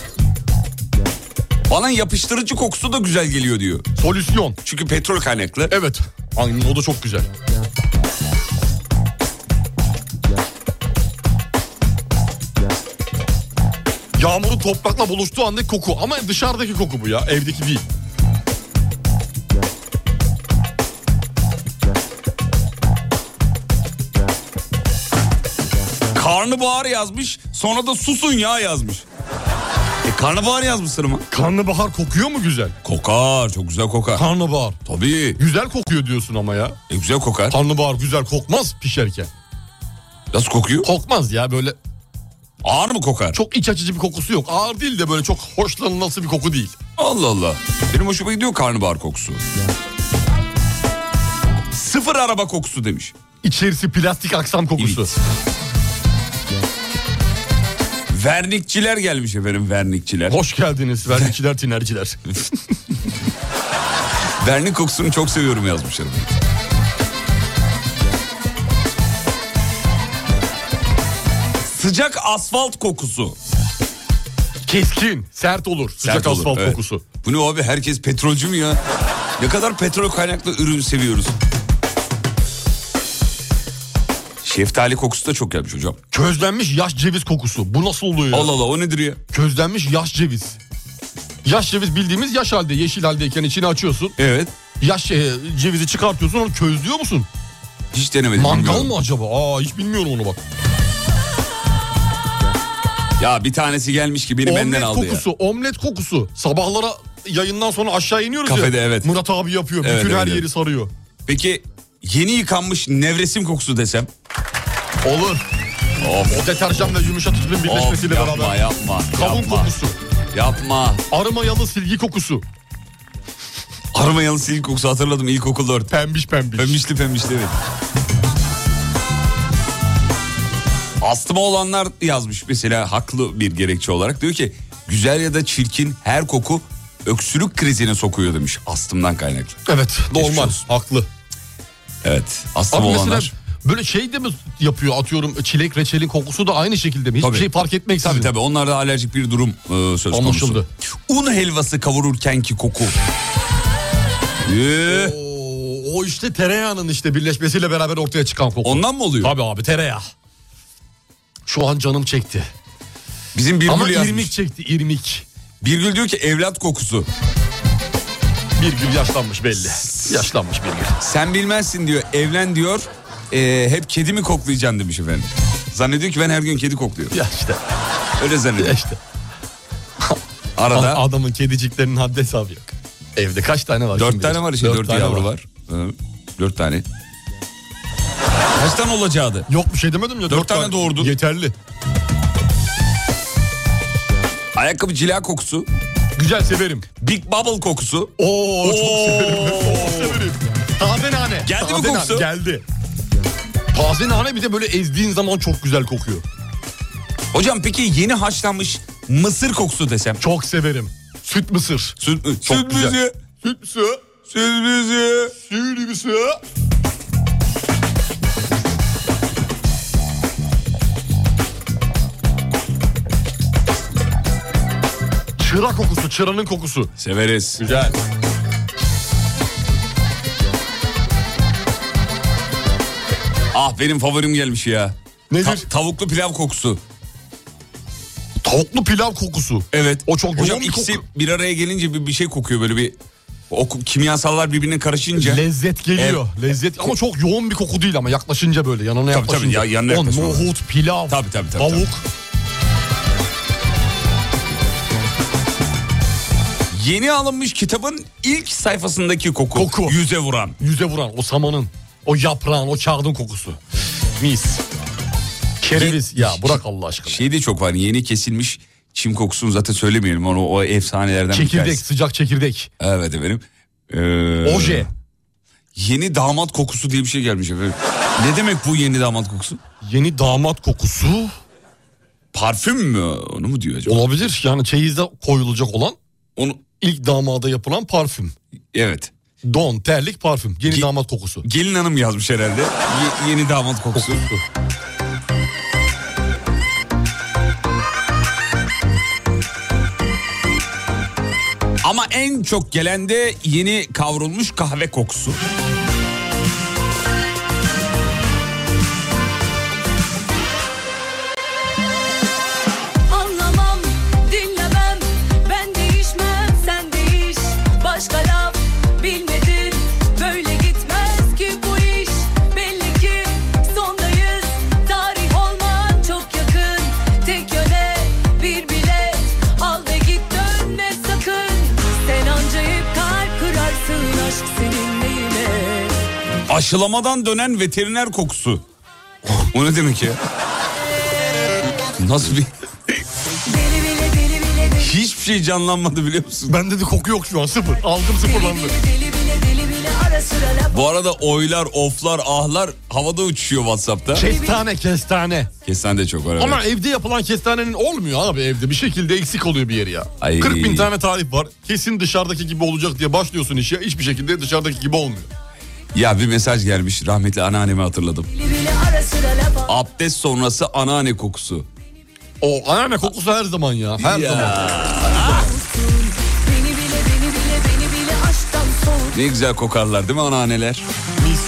Bana yapıştırıcı kokusu da güzel geliyor diyor. Solüsyon. Çünkü petrol kaynaklı. Evet. Aynen o da çok güzel. Yağmurun toprakla buluştuğu andaki koku. Ama dışarıdaki koku bu ya. Evdeki değil. Karnabahar yazmış sonra da susun ya yazmış. E karnabahar yazmışsın ama. Karnabahar kokuyor mu güzel? Kokar çok güzel kokar. Karnabahar. Tabii Güzel kokuyor diyorsun ama ya. e, güzel kokar. Karnabahar güzel kokmaz pişerken. Nasıl kokuyor? Kokmaz ya böyle Ağır mı kokar? çok iç açıcı bir kokusu yok. Ağır değil de böyle çok hoşlanılması bir koku değil. Allah Allah. Benim hoşuma gidiyor karnabahar kokusu. Sıfır araba kokusu demiş. İçerisi plastik aksam kokusu. Evet. Vernikçiler gelmiş efendim vernikçiler. Hoş geldiniz vernikçiler tinerciler. [LAUGHS] Vernik kokusunu çok seviyorum yazmışlar. Sıcak asfalt kokusu. Keskin, sert olur. Sıcak Sert olur, asfalt evet. kokusu. Bu ne abi herkes petrolcü mü ya? Ne kadar petrol kaynaklı ürün seviyoruz. Şeftali kokusu da çok gelmiş hocam. Közlenmiş yaş ceviz kokusu. Bu nasıl oluyor? ya? Allah Allah o nedir ya? Közlenmiş yaş ceviz. Yaş ceviz bildiğimiz yaş halde, yeşil haldeyken içini açıyorsun. Evet. Yaş e, cevizi çıkartıyorsun, onu közlüyor musun? Hiç denemedim. Mangal bilmiyorum. mı acaba? Aa hiç bilmiyorum onu bak. Ya bir tanesi gelmiş ki beni benden Omlet aldı kokusu, omlet kokusu. Sabahlara yayından sonra aşağı iniyoruz Kafede, ya. evet. Murat abi yapıyor. Evet, bütün evet, her evet. yeri sarıyor. ya. Peki yeni yıkanmış nevresim kokusu desem? Olur. O deterjanla yumuşatıcının Of, birleşmesiyle yapma, beraber. yapma, Kavun yapma. kokusu. Yapma. Arımayalı silgi kokusu. Armayalı silgi kokusu hatırladım ilkokul 4. Pembiş pembiş. Pembişli pembişli evet. Astıma olanlar yazmış mesela haklı bir gerekçe olarak. Diyor ki güzel ya da çirkin her koku öksürük krizine sokuyor demiş astımdan kaynaklı. Evet Geçmiş normal olsun. haklı. Evet astım Abi mesela olanlar. böyle şey de mi yapıyor atıyorum çilek reçelin kokusu da aynı şekilde mi? Hiçbir Tabii. şey fark etmeksizin. Tabii tabii onlarda alerjik bir durum e, söz Anlaşıldı. konusu. Un helvası kavururkenki koku. Ee, Oo, o işte tereyağının işte birleşmesiyle beraber ortaya çıkan koku. ondan mı oluyor? Tabii abi tereyağı. Şu an canım çekti. Bizim Birgül Ama yazmış. irmik çekti irmik. Birgül diyor ki evlat kokusu. Bir gün yaşlanmış belli. Yaşlanmış bir gün. Sen bilmezsin diyor evlen diyor Ee, hep kedi mi koklayacaksın demiş efendim. Zannediyor ki ben her gün kedi kokluyorum. Ya işte. Öyle Ya zannediyor. işte. Arada Ah, Adamın kediciklerinin haddi hesabı yok. Evde kaç tane var? dört şimdi? tane var işte dört, tane yavru var. Hı, Dört tane. Kaç tane olacaktı? Yok bir şey demedim ya. Dört tane doğurdu. Yeterli. Ayakkabı cila kokusu, Güzel severim. Big Bubble kokusu. Oo, çok Oo. severim. Çok severim. Taze nane. Geldi mi Taze nane, kokusu? Geldi. Taze nane bir de böyle ezdiğin zaman çok güzel kokuyor. Hocam peki yeni haşlanmış mısır kokusu desem. Çok severim. Süt mısır. Süt, Çok süt güzel. müziği, Süt mısır. süt müziği. Süt mısır. çıra kokusu, çıranın kokusu. Severiz. Güzel. Ah benim favorim gelmiş ya. Nedir? Ta- tavuklu pilav kokusu. Tavuklu pilav kokusu. Evet. O çok Hocam yoğun bir ikisi koku. bir araya gelince bir, bir şey kokuyor böyle bir. O ku- kimyasallar birbirine karışınca. Lezzet geliyor. Evet. Lezzet ama çok yoğun bir koku değil ama yaklaşınca böyle yanına tabii, yaklaşınca. ya- yanına Ulan yaklaşma. Nohut, pilav, Tabii, tabii, tabii, tavuk. Yeni alınmış kitabın ilk sayfasındaki koku. Koku. Yüze vuran. Yüze vuran o samanın, o yaprağın, o kağıdın kokusu. Mis. Kereviz. Ya bırak Allah aşkına. Şey de çok var yeni kesilmiş çim kokusunu zaten söylemeyelim onu o efsanelerden bir E, Çekirdek, tanesi. sıcak çekirdek. Evet efendim. Ee, Oje. Yeni damat kokusu diye bir şey gelmiş efendim. Ne demek bu yeni damat kokusu? Yeni damat kokusu Parfüm mü onu mu diyor acaba? olabilir. Yani çeyizde koyulacak olan Onu, ilk damada yapılan parfüm. evet. Don, terlik, parfüm. Yeni Ge- damat kokusu. Gelin hanım yazmış herhalde. Ye- yeni damat kokusu. Ama en çok gelen de yeni kavrulmuş kahve kokusu. Anlamam, dinlemem, ben değişmem, sen değiş. Başka laf bilmedin, böyle gitmez ki bu iş. Belli ki sondayız, tarih olman çok yakın. Tek yöne bir bilet, al ve git dönme sakın. Sen anca hep kalp kırarsın aşk seninle yine. Aşılamadan dönen veteriner kokusu. O ne demek ya? Nasıl bir... Deli bile deli bile deli. Hiçbir şey canlanmadı biliyor musun? Bende de koku yok şu an sıfır. Algım Deli sıfırlandı. bile deli bile deli bile ara sıra laf Bu arada oylar, oflar, ahlar havada uçuşuyor Whatsapp'ta. Kestane, kestane. Kesen de çok var. evet. Ama evde yapılan kestanenin olmuyor abi evde. Bir şekilde eksik oluyor bir yeri ya. Ay. 40 bin tane tarif var. Kesin dışarıdaki gibi olacak diye başlıyorsun işe. Hiçbir şekilde dışarıdaki gibi olmuyor. Ya bir mesaj gelmiş rahmetli anneannemi hatırladım. Deli bile ara sıra laf Abdest sonrası anneanne kokusu. O anneanne kokusu her zaman ya. Her Ya, zaman. Beni bile beni bile beni bile aşktan soğut Ne güzel kokarlar değil mi anneanneler? Mis.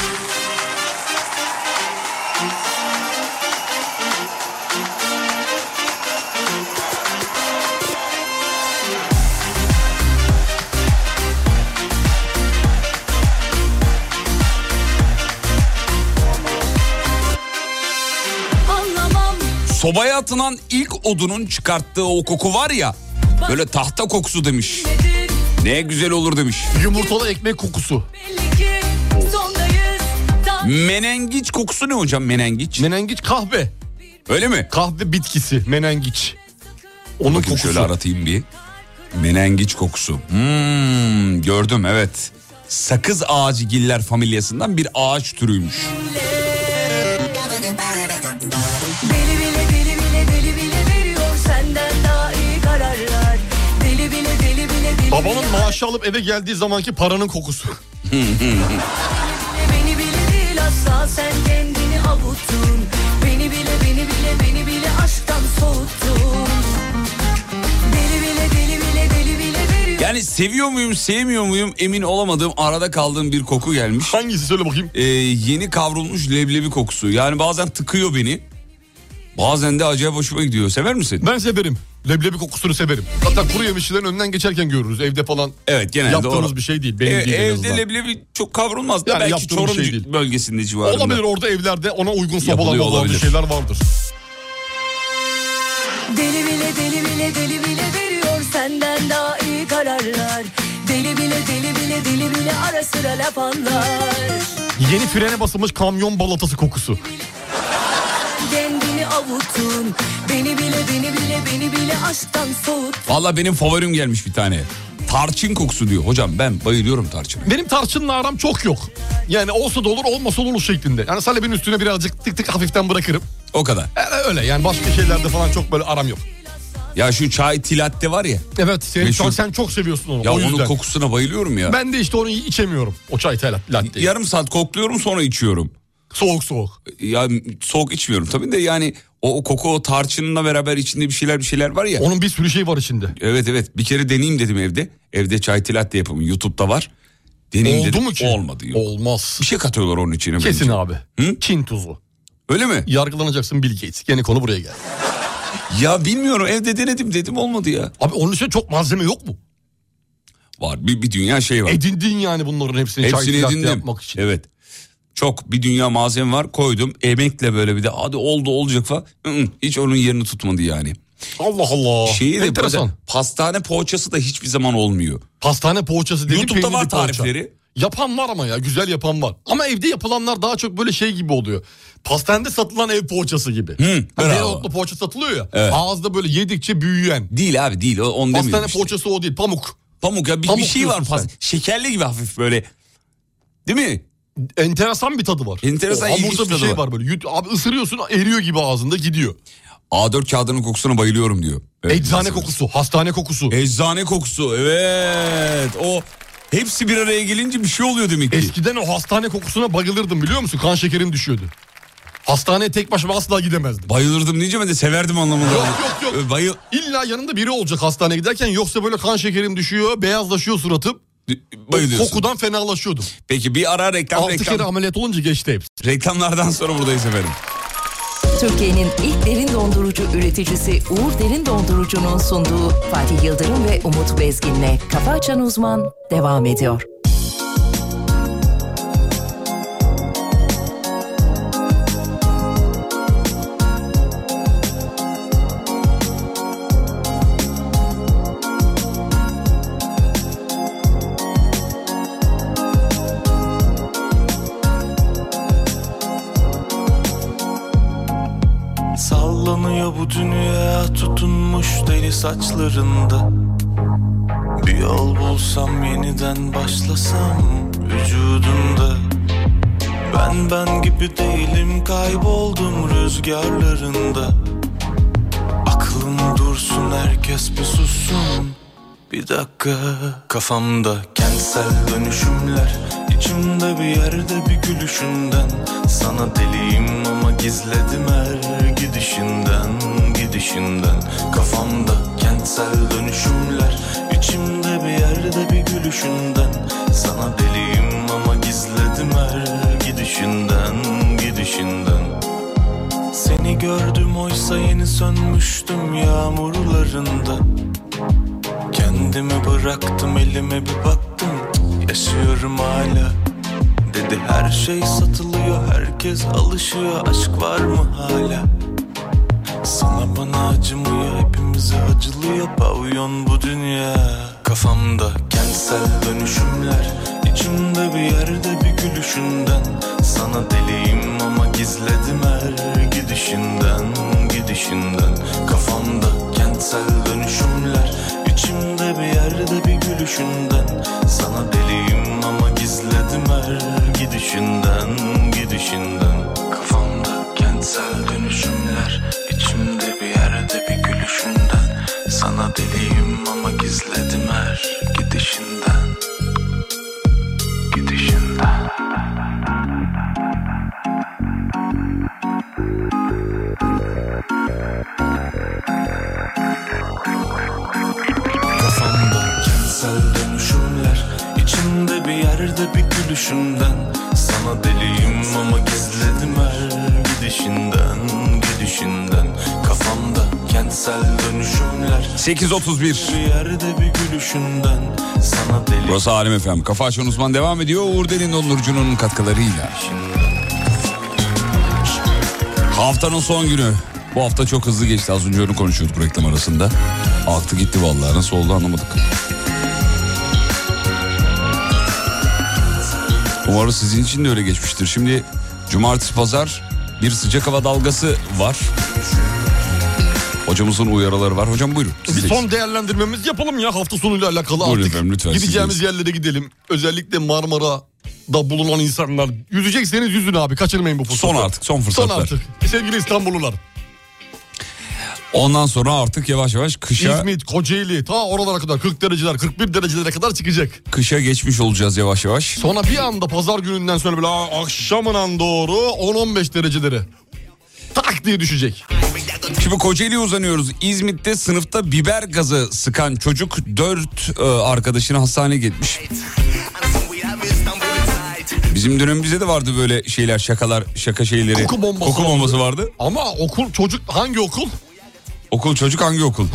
anlamam Sobaya atılan ilk odunun çıkarttığı o koku var ya. Böyle tahta kokusu demiş. nedir Ne güzel olur demiş. Yumurtalı ekmek kokusu. belli ki sondayız tam Menengiç kokusu ne hocam menengiç? Menengiç kahve. Öyle mi? Kahve bitkisi. Menengiç. Onun Bakayım kokusu. şöyle aratayım bir. Menengiç kokusu. Hmm, gördüm evet. Sakız ağacı giller familyasından bir ağaç türüymüş. deli bile deli bile deli bile veriyor senden daha iyi kararlar deli bile deli bile deli Babamın bile- maaşı alıp eve geldiği zamanki paranın [LAUGHS] kokusu. beni bile değil asla sen kendini avuttun beni bile beni bile beni bile aşktan soğuttun deli bile deli bile deli bile veriyor Yani seviyor muyum sevmiyor muyum emin olamadığım arada kaldığım bir koku gelmiş. Hangisi söyle bakayım. Ee, yeni kavrulmuş leblebi kokusu. Yani bazen tıkıyor beni. Bazen de acayip hoşuma gidiyor. Sever misin? Ben severim. Leblebi kokusunu severim. Hatta kuru yemişçilerin önünden geçerken görürüz. Evde falan Evet genelde yaptığımız o- bir şey değil. Benim Ev- değil en azından. evde leblebi çok kavrulmaz. da Yani Belki yaptığım bir Çorum şey ci- değil. bölgesinde civarında. Olabilir orada evlerde ona uygun sobalar Yapılıyor olan bir olabilir. şeyler vardır. Deli bile deli bile deli bile veriyor senden daha iyi kararlar. Deli bile deli bile deli bile ara sıra laf anlar. Yeni frene basılmış kamyon balatası kokusu. Kendini avutun. Beni bile beni bile beni bile aşktan soğut. Valla benim favorim gelmiş bir tane. Tarçın kokusu diyor. Hocam ben bayılıyorum tarçına. Benim tarçınla aram çok yok. Yani olsa da olur olmasa da olur şeklinde. Yani salebin üstüne birazcık tık tık hafiften bırakırım. O kadar. Yani öyle yani başka şeylerde falan çok böyle aram yok. Ya şu çay tilatte var ya. Evet sen, Meşhur. sen çok seviyorsun onu Ya o onun yüzden. kokusuna bayılıyorum ya. Ben de işte onu içemiyorum. O çay tel- latteyi. Yarım saat kokluyorum sonra içiyorum. Soğuk soğuk. Ya soğuk içmiyorum tabii de yani O, o koku o tarçınla beraber içinde bir şeyler bir şeyler var ya. Onun bir sürü şey var içinde. Evet evet bir kere deneyeyim dedim evde. Evde çay tilat yapımı YouTube'da var. Deneyim Oldu dedim. mu ki? Olmadı. Yok. Olmaz. Bir şey katıyorlar onun içine. bence. Kesin abi. Hı? Çin tuzu. Öyle mi? Yargılanacaksın Bill Gates. Yeni konu buraya geldi. Ya bilmiyorum evde denedim dedim olmadı ya. Abi onun için çok malzeme yok mu? Var bir, bir dünya şey var. Edindin yani bunların hepsini, çay Hepsini edindim. yapmak için. Evet. Çok bir dünya malzeme var koydum emekle böyle bir de hadi oldu olacak falan. Hı hı, Hiç onun yerini tutmadı yani. Allah Allah. Şeyi de Oh, Enteresan. böyle pastane poğaçası da hiçbir zaman olmuyor. Pastane poğaçası dediğim YouTube'da peynirli var poğaça. tarifleri. Yapan var ama ya güzel yapan var. Ama evde yapılanlar daha çok böyle şey gibi oluyor. Pastanede satılan ev poğaçası gibi. Hı, bravo. Dereotlu poğaça satılıyor ya. Evet. Ağızda böyle yedikçe büyüyen. Değil abi değil o- onu demiyorum Pastane işte. poğaçası o değil pamuk. Pamuk ya bir, Pamuk bir şey var diyorsun fazla. Şekerli gibi hafif böyle. Değil mi? Enteresan bir tadı var. Enteresan, o hamurda ilginç bir tadı şey var. var, böyle. Yut- abi ısırıyorsun e- eriyor gibi ağzında gidiyor. A4 kağıdının kokusuna bayılıyorum diyor. Evet, Eczane mesela. kokusu, hastane kokusu. Eczane kokusu evet. O hepsi bir araya gelince bir şey oluyor demek ki. Eskiden o hastane kokusuna bayılırdım biliyor musun? Kan şekerim düşüyordu. Hastaneye tek başıma asla gidemezdim. Bayılırdım deyince ben de severdim anlamında. Yok, yok, yok. Ee, Bayıl... İlla yanında biri olacak hastaneye giderken yoksa böyle kan şekerim düşüyor, beyazlaşıyor suratım. Bayılıyorsun. Kokudan fenalaşıyordum. Peki bir ara reklam 6 reklam. kere ameliyat olunca geçti hepsi. Reklamlardan sonra buradayız efendim. Türkiye'nin ilk derin dondurucu üreticisi Uğur Derin Dondurucu'nun sunduğu Fatih Yıldırım ve Umut Bezgin'le Kafa Açan Uzman devam ediyor. Sallanıyor bu dünya tutunmuş deli saçlarında Bir yol bulsam yeniden başlasam vücudunda Ben ben gibi değilim kayboldum rüzgarlarında Aklım dursun herkes bir sussun bir dakika Kafamda kentsel dönüşümler içimde bir yerde bir gülüşünden Sana deliyim ama gizledim her gidişinden Gidişinden Kafamda kentsel dönüşümler içimde bir yerde bir gülüşünden Sana deliyim ama gizledim her gidişinden Gidişinden Seni gördüm oysa yeni sönmüştüm yağmurlarında Kendimi bıraktım elime bir baktım Yaşıyorum hala Dedi her şey satılıyor herkes alışıyor Aşk var mı hala Sana bana acımıyor hepimize acılıyor Pavyon bu dünya Kafamda kentsel dönüşümler içimde bir yerde bir gülüşünden Sana deliyim ama gizledim her gidişinden Gidişinden Kafamda kentsel dönüşümler içimde bir yerde bir gülüşünden Sana deliyim ama gizledim her gidişinden Gidişinden Kafamda kentsel dönüşümler içimde bir yerde bir gülüşünden Sana deliyim ama gizledim her gidişinden Gidişinden Kafamda kentsel dönüşümler içimde bir yerde bir gülüşünden Sana deliyim ama gizledim her gidişinden Gidişinden Kafamda kentsel dönüşümler 8.31. bir yerde bir gülüşünden Sana deliyim Burası Alem Efem. Kafa Açan Uzman devam ediyor. Uğur Derin Dondurucu'nun katkılarıyla. Haftanın son günü. Bu hafta çok hızlı geçti. Az önce onu konuşuyorduk reklam arasında. Aktı gitti vallahi. Nasıl oldu anlamadık. Umarım sizin için de öyle geçmiştir. Şimdi cumartesi pazar bir sıcak hava dalgası var. Hocamızın uyarıları var. Hocam buyurun. Bir sizdeyiz. son değerlendirmemizi yapalım ya hafta sonuyla alakalı Buyurun artık. efendim, lütfen, Gideceğimiz yerlere gidelim. Özellikle Marmara'da bulunan insanlar. Yüzecekseniz yüzün abi kaçırmayın bu fırsatı. Son artık, son Son fırsatlar. artık. Sevgili İstanbullular. Ondan sonra artık yavaş yavaş kışa İzmit, Kocaeli ta oralara kadar 40 dereceler 41 derecelere kadar çıkacak. kışa geçmiş olacağız yavaş yavaş. Sonra bir anda pazar gününden sonra böyle akşamından doğru 10-15 dereceleri tak diye düşecek. Şimdi Kocaeli'ye uzanıyoruz. İzmit'te sınıfta biber gazı sıkan çocuk 4 arkadaşını hastaneye gitmiş. Bizim dönemimizde de vardı böyle şeyler şakalar şaka şeyleri. Koku bombası bombası vardı. Ama okul çocuk hangi okul? Okul çocuk hangi okul?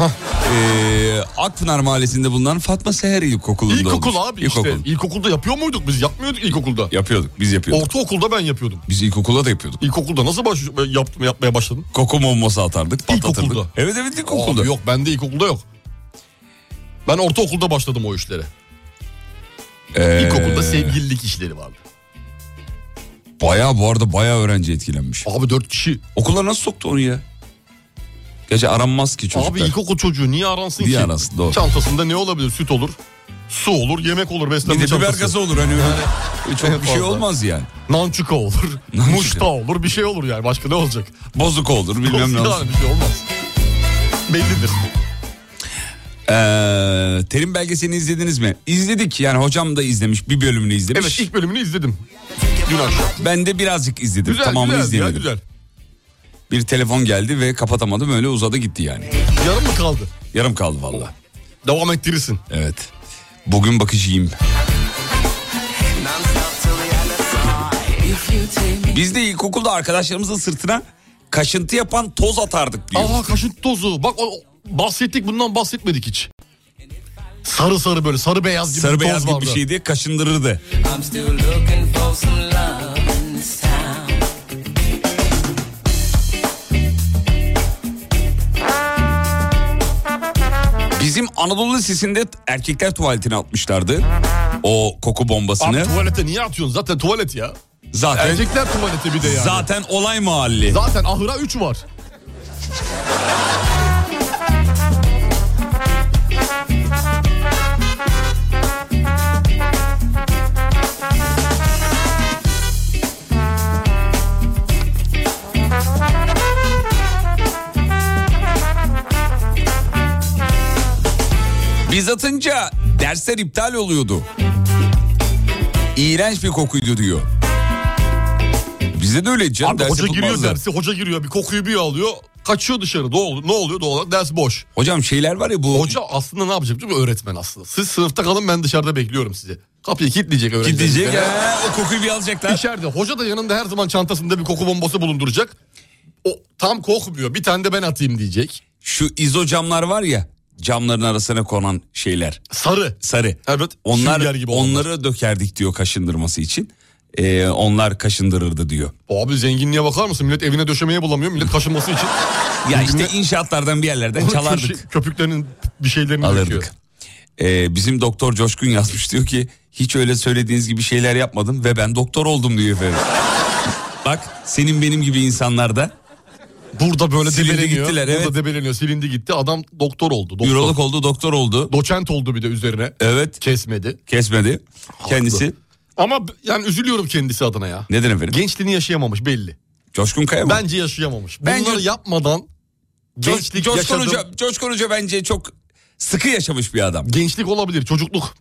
Ee, Akpınar Mahallesi'nde bulunan Fatma Seher İlkokulu'nda İlkokul olmuş. abi işte. İlkokul. İlkokulda yapıyor muyduk biz? Yapmıyorduk ilkokulda. Yapıyorduk biz yapıyorduk. Ortaokulda ben yapıyordum. Biz ilkokula da yapıyorduk. İlkokulda nasıl baş, yaptım, yapmaya başladım? Koku bombası atardık patlatırdık. İlkokulda. Evet evet ilkokulda. Abi yok bende ilkokulda yok. Ben ortaokulda başladım o işlere. Ee, İlkokulda sevgililik işleri vardı. Bayağı bu arada bayağı öğrenci etkilenmiş. Abi dört kişi. Okula nasıl soktu onu ya? Gerçi aranmaz ki çocuklar. Abi ilkokul çocuğu niye aransın Niye ki? aransın, doğru. Çantasında ne olabilir? Süt olur, su olur, yemek olur, beslenme bir de biber çantası. gazı olur hani öyle. [LAUGHS] Çok bir şey Fazla. olmaz yani. Nançuka olur, [LAUGHS] Nançuka. muşta olur, bir şey olur yani. Başka ne olacak? Bozuk olur bilmem [LAUGHS] ne Yani olur. Bir şey olmaz. Bellidir. Ee, terim belgeselini izlediniz mi? İzledik yani hocam da izlemiş bir bölümünü izlemiş. Evet ilk bölümünü izledim. Dün akşam. Ben de birazcık izledim Güzel tamamını güzel ya, izleyemedim. güzel. Bir telefon geldi ve kapatamadım öyle uzadı gitti yani. Yarım mı kaldı? Yarım kaldı valla. Devam ettirirsin. Evet. Bugün bakıcıyım. Biz de ilkokulda arkadaşlarımızın sırtına kaşıntı yapan toz atardık biliyor Aa musun? kaşıntı tozu. Bak o- o- bahsettik bundan bahsetmedik hiç. Sarı sarı böyle sarı beyaz gibi Sarı bir toz beyaz gibi vardı. bir şeydi kaşındırırdı. Bizim Anadolu Lisesi'nde erkekler tuvaletine atmışlardı. O koku bombasını. Abi tuvalete niye atıyorsun? Zaten tuvalet ya. Zaten Erkekler tuvaleti bir de yani. Zaten, zaten olay mahalli. ahıra 3 var. Biz atınca dersler iptal oluyordu. İğrenç bir kokuydu diyor. Bize de öyle canım. Abi ders hoca giriyor yapılmazdı. dersi, hoca giriyor bir kokuyu bir alıyor. Kaçıyor dışarı. Ne oluyor? Ne oluyor? Doğal olarak ders boş. Hocam şeyler var ya bu Hoca aslında ne yapacak değil mi? Öğretmen aslında. Siz sınıfta kalın ben dışarıda bekliyorum sizi. Kapıyı kilitleyecek öğretmen. gidecek ha, o kokuyu bir alacaklar. İçeride. Hoca da yanında her zaman çantasında bir koku bombası bulunduracak. O tam kokmuyor. Bir tane de ben atayım diyecek. Şu izo camlar var ya camların arasına konan şeyler Sarı. sarı. Evet. Onlar sünger gibi olanlar. onları dökerdik diyor kaşındırması için. Ee, onlar kaşındırırdı diyor. Abi zenginliğe bakar mısın? Millet evine döşemeye bulamıyor. Millet kaşınması için. Ya Birbirine- işte inşaatlardan bir yerlerden çalardık. Köşe- Köpüklerinin bir şeylerini döküyor. alırdık. Ee, bizim doktor Coşkun yazmış diyor ki hiç öyle söylediğiniz gibi şeyler yapmadım ve ben doktor oldum diyor efendim. [LAUGHS] Bak senin benim gibi insanlarda Burada böyle Silindi debeleniyor. gittiler, Burada evet. debeleniyor. Silindi gitti. Adam doktor oldu. Doktor. ürolog oldu doktor oldu. Doçent oldu bir de üzerine. Evet Kesmedi. kesmedi kendisi. Ama b- yani üzülüyorum kendisi adına ya. Neden efendim? Gençliğini yaşayamamış belli. Coşkun Kaya mı? Bence yaşayamamış. Bunları Bence- yapmadan Co- gençlik Coşkun, yaşadım. Hoca, Coşkun Hoca bence çok sıkı yaşamış bir adam. Gençlik olabilir. Çocukluk.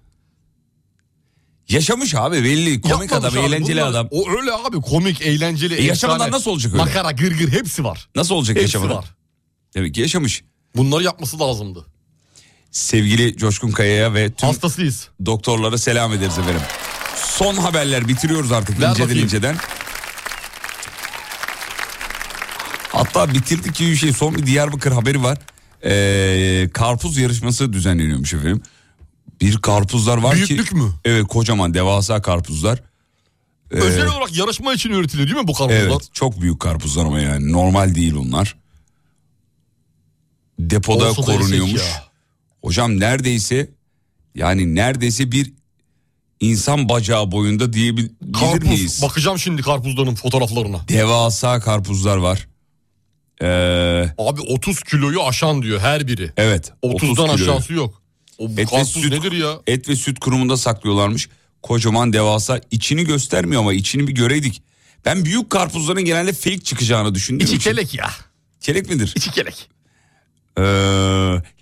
Yaşamış abi belli komik Yapmamış adam abi. eğlenceli Bunlar- adam. O öyle abi komik, eğlenceli. E yaşamadan efsane. nasıl olacak öyle? Makara, gırgır hepsi var. Nasıl olacak Hepsi yaşamadan? var. Demek ki yaşamış. Bunları yapması lazımdı. Sevgili Coşkun Kaya'ya ve tüm Hastasıyız. doktorlara selam ederiz efendim. Son haberler bitiriyoruz artık Ver inceden bakayım. inceden. Hatta bitirdik ki bir şey son bir Diyarbakır haberi var. Ee, karpuz yarışması düzenleniyormuş efendim. Bir karpuzlar var ki. Büyüklük mü? Evet kocaman devasa karpuzlar. Ee, Özel olarak yarışma için üretiliyor değil mi bu karpuzlar? Evet çok büyük karpuzlar ama yani normal değil onlar. Depoda Olsa da yesek korunuyormuş. ya. Hocam neredeyse yani neredeyse bir insan bacağı boyunda diyebilir miyiz? Karpuz. Bakacağım şimdi karpuzların fotoğraflarına. Devasa karpuzlar var. Ee, Abi 30 kiloyu aşan diyor her biri. evet. 30'dan 30 kilo. aşağısı yok. O bu Et ve, karpuz süt, nedir ya? et ve süt kurumunda saklıyorlarmış. Kocaman devasa içini göstermiyor ama içini bir göreydik. Ben büyük karpuzların genelde fake çıkacağını düşündüğüm İçi için- kelek ya. Çelek midir? İçi kelek. Ee,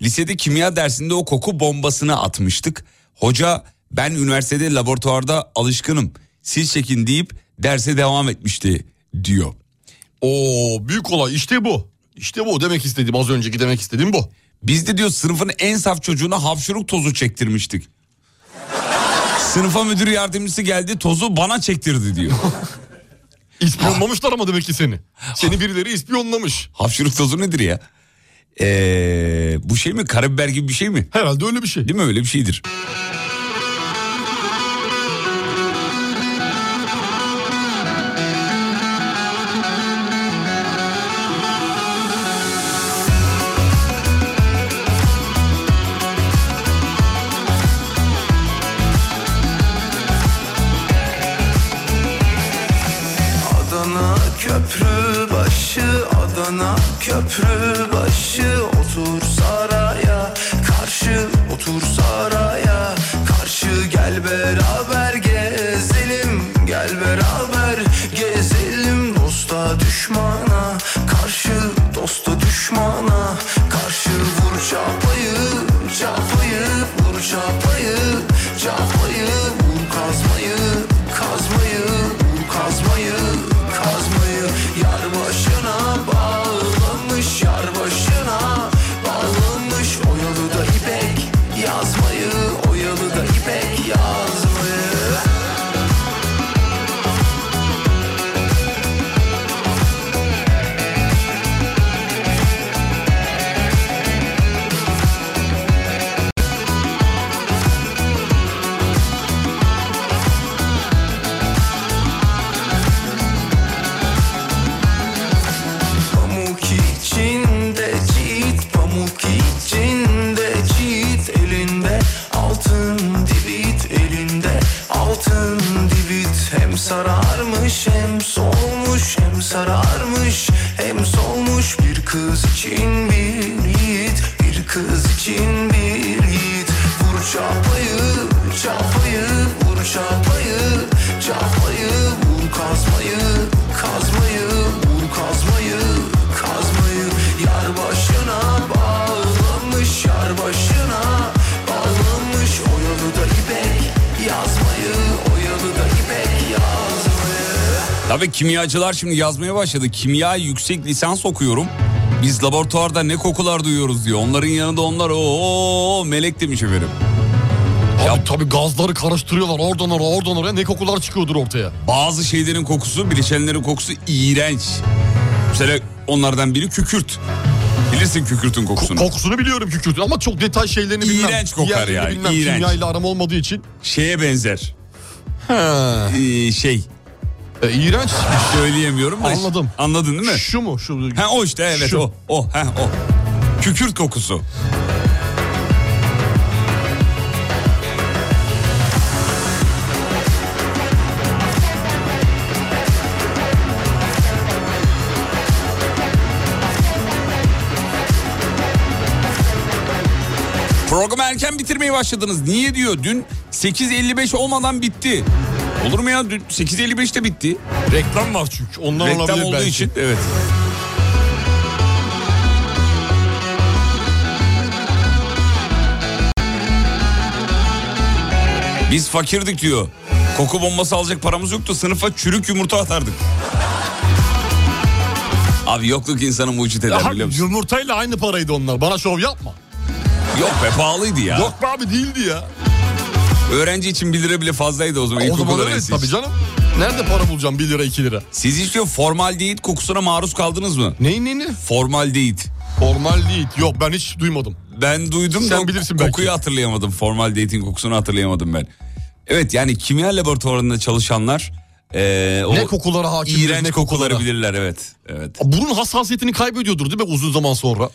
lisede kimya dersinde o koku bombasını atmıştık. Hoca ben üniversitede laboratuvarda alışkınım. Siz çekin deyip derse devam etmişti diyor. Oo büyük olay işte bu. İşte bu demek istediğim az önceki demek istediğim bu. Biz de diyor sınıfın en saf çocuğuna hapşuruk tozu çektirmiştik. Sınıfa müdür yardımcısı geldi tozu bana çektirdi diyor. [LAUGHS] İspiyonlamışlar ama demek ki seni. Seni birileri ispiyonlamış. hapşuruk tozu nedir ya? Ee, bu şey mi karabiber gibi bir şey mi? Herhalde öyle bir şey. Değil mi öyle bir şeydir. Adana köprü başı Adana köprü başı Otur saraya karşı Otur saraya karşı Gel beraber gezelim Gel beraber gezelim Dosta düşmana karşı Dosta düşmana karşı Vur çapayı çapayı Vur çapayı çapayı Vur kazmayı kazmayı Vur kazmayı kazmayı Yar başına bağlanmış Yar başına bağlanmış Oyalı da ipek yazmayı Oyalı da ipek yazmayı Pamuk içinde çiğit Pamuk içinde çiğit Elinde altın divit Elinde altın divit Hem sararmış hem solmuş Hem sararmış hem solmuş Bir kız için bir yiğit Bir kız için bir yiğit Vur çapayı, çapayı, vur çapayı, çapayı, vur kazmayı, kazmayı, vur kazmayı, kazmayı. Yar başına bağlanmış, yar başına bağlanmış. Oyalı da ipek yazmayı, oyalı da ipek yazmayı. Tabii kimyacılar şimdi yazmaya başladı. Kimya yüksek lisans okuyorum. Biz laboratuvarda ne kokular duyuyoruz diyor. Onların yanında onlar o melek demiş efendim. Abi tabii gazları karıştırıyorlar oradan oraya oradan oraya ne kokular çıkıyordur ortaya. Bazı şeylerin kokusu, bileşenlerin kokusu iğrenç. Mesela onlardan biri kükürt. Bilirsin kükürtün Ko- kokusunu. kokusunu biliyorum kükürtün ama çok detay şeylerini bilmem. İğrenç kokar Diğerlerini yani, Bilmem. iğrenç. Kimyayla aram olmadığı için. Şeye benzer. Ee, şey. E, iğrenç. Söyleyemiyorum da. Anladım. Anladın değil mi? Şu mu? Şu. Ha o işte evet Şu. o. O ha o. Kükürt kokusu. Programı erken bitirmeye başladınız. Niye diyor? Dün 8.55 olmadan bitti. Olur mu ya? Dün 8.55'te bitti. Reklam var çünkü. Ondan Reklam olabilir olduğu belki. için evet. Biz fakirdik diyor. Koku bombası alacak paramız yoktu. Sınıfa çürük yumurta atardık. Abi yokluk insanı mucit eder Ya, biliyor musun? yumurtayla aynı paraydı onlar. Bana şov yapma. Yok be pahalıydı ya. Yok be abi değildi ya. Öğrenci için 1 lira bile fazlaydı o zaman. o ilkokul zaman evet öğrencisi için. tabii canım. Nerede para bulacağım 1 lira 2 lira? Siz hiç diyor formaldehit kokusuna maruz kaldınız mı? Neyin neyini? Formaldehit. Formal değil. Yok ben hiç duymadım. Ben duydum Sen da bilirsin kokuyu belki. hatırlayamadım. Formal dating kokusunu hatırlayamadım ben. Evet yani kimya laboratuvarında çalışanlar eee, o ne kokulara hakimdir iğrenç ne kokulara. kokuları bilirler evet. Evet. Burun hassasiyetini kaybediyordur değil mi uzun zaman sonra?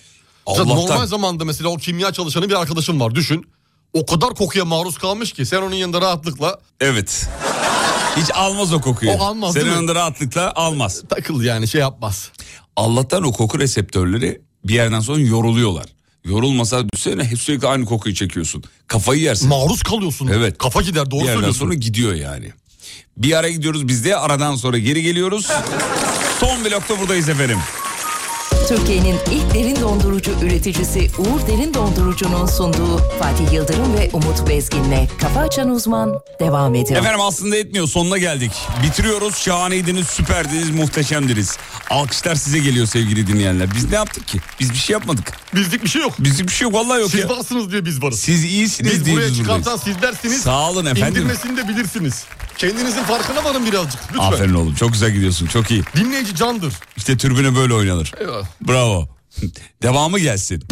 Mesela Allah'tan. normal zamanda mesela o kimya çalışanı bir arkadaşım var düşün. O kadar kokuya maruz kalmış ki sen onun yanında rahatlıkla Evet. Hiç almaz o kokuyu. O almaz, Senin değil mi? yanında rahatlıkla almaz. takıl yani şey yapmaz. Allah'tan o koku reseptörleri bir yerden sonra yoruluyorlar. Yorulmasa düşsene hep sürekli aynı kokuyu çekiyorsun. Kafayı yersin. Maruz kalıyorsun. Evet. Kafa gider doğru bir yerden söylüyorsun. sonra gidiyor yani. Bir ara gidiyoruz biz de aradan sonra geri geliyoruz. Son blokta buradayız efendim. Türkiye'nin ilk derin dondurucu üreticisi Uğur Derin Dondurucu'nun sunduğu Fatih Yıldırım ve Umut Bezgin'le Kafa Açan Uzman devam ediyor. Efendim aslında etmiyor sonuna geldik. Bitiriyoruz şahaneydiniz süperdiniz muhteşemdiniz. Alkışlar size geliyor sevgili dinleyenler. Biz ne yaptık ki? Biz bir şey yapmadık. Bizlik bir şey yok. Bizlik bir şey yok vallahi yok Siz ya. varsınız diye biz varız. Siz iyisiniz Biz diye buraya biz buradayız. çıkartan siz dersiniz. Sağ olun efendim. İndirmesini de bilirsiniz. Kendinizin farkına varın birazcık lütfen. Aferin oğlum çok güzel gidiyorsun çok iyi. Dinleyici candır. İşte türbüne böyle oynanır. Eyvallah. Bravo. Devamı gelsin.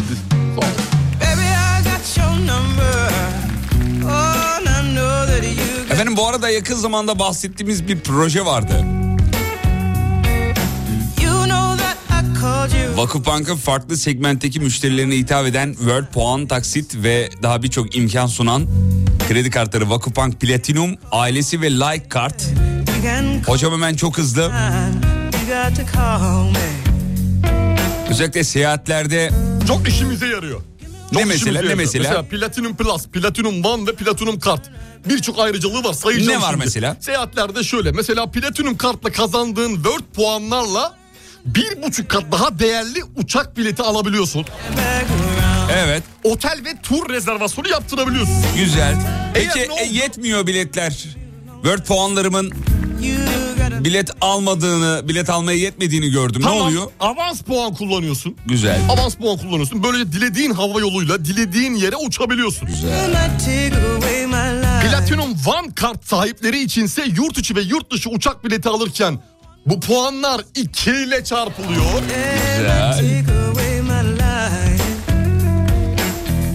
Baby, I got your number. Oh, and I know that you got Efendim bu arada yakın zamanda bahsettiğimiz bir proje vardı. You know that I called you. Vakıfbank'ın farklı segmentteki müşterilerine hitap eden World Puan Taksit ve daha birçok imkan sunan kredi kartları Vakıfbank Platinum ailesi ve Like Kart. You can call, Hocam hemen çok hızlı. you got to call me. Özellikle seyahatlerde Çok işimize yarıyor. Çok Ne mesela, işimize ne yarıyor. mesela? Platinum Plus, Platinum One ve Platinum Kart. Birçok ayrıcalığı var sayacağım Ne var şimdi. mesela? Seyahatlerde şöyle. Mesela Platinum Kart'la kazandığın World puanlarla bir buçuk kat daha değerli uçak bileti alabiliyorsun. evet Otel ve tur rezervasyonu yaptırabiliyorsun. güzel. Peki Eğer ne oldu? e, yetmiyor biletler. World puanlarımın bilet almadığını, bilet almaya yetmediğini gördüm. Ne Tamam, oluyor? Avans puan kullanıyorsun. Güzel. Avans puan kullanıyorsun. Böylece dilediğin hava yoluyla dilediğin yere uçabiliyorsun. Platinum One kart sahipleri içinse yurt içi ve yurt dışı uçak bileti alırken bu puanlar 2 ile çarpılıyor. Güzel.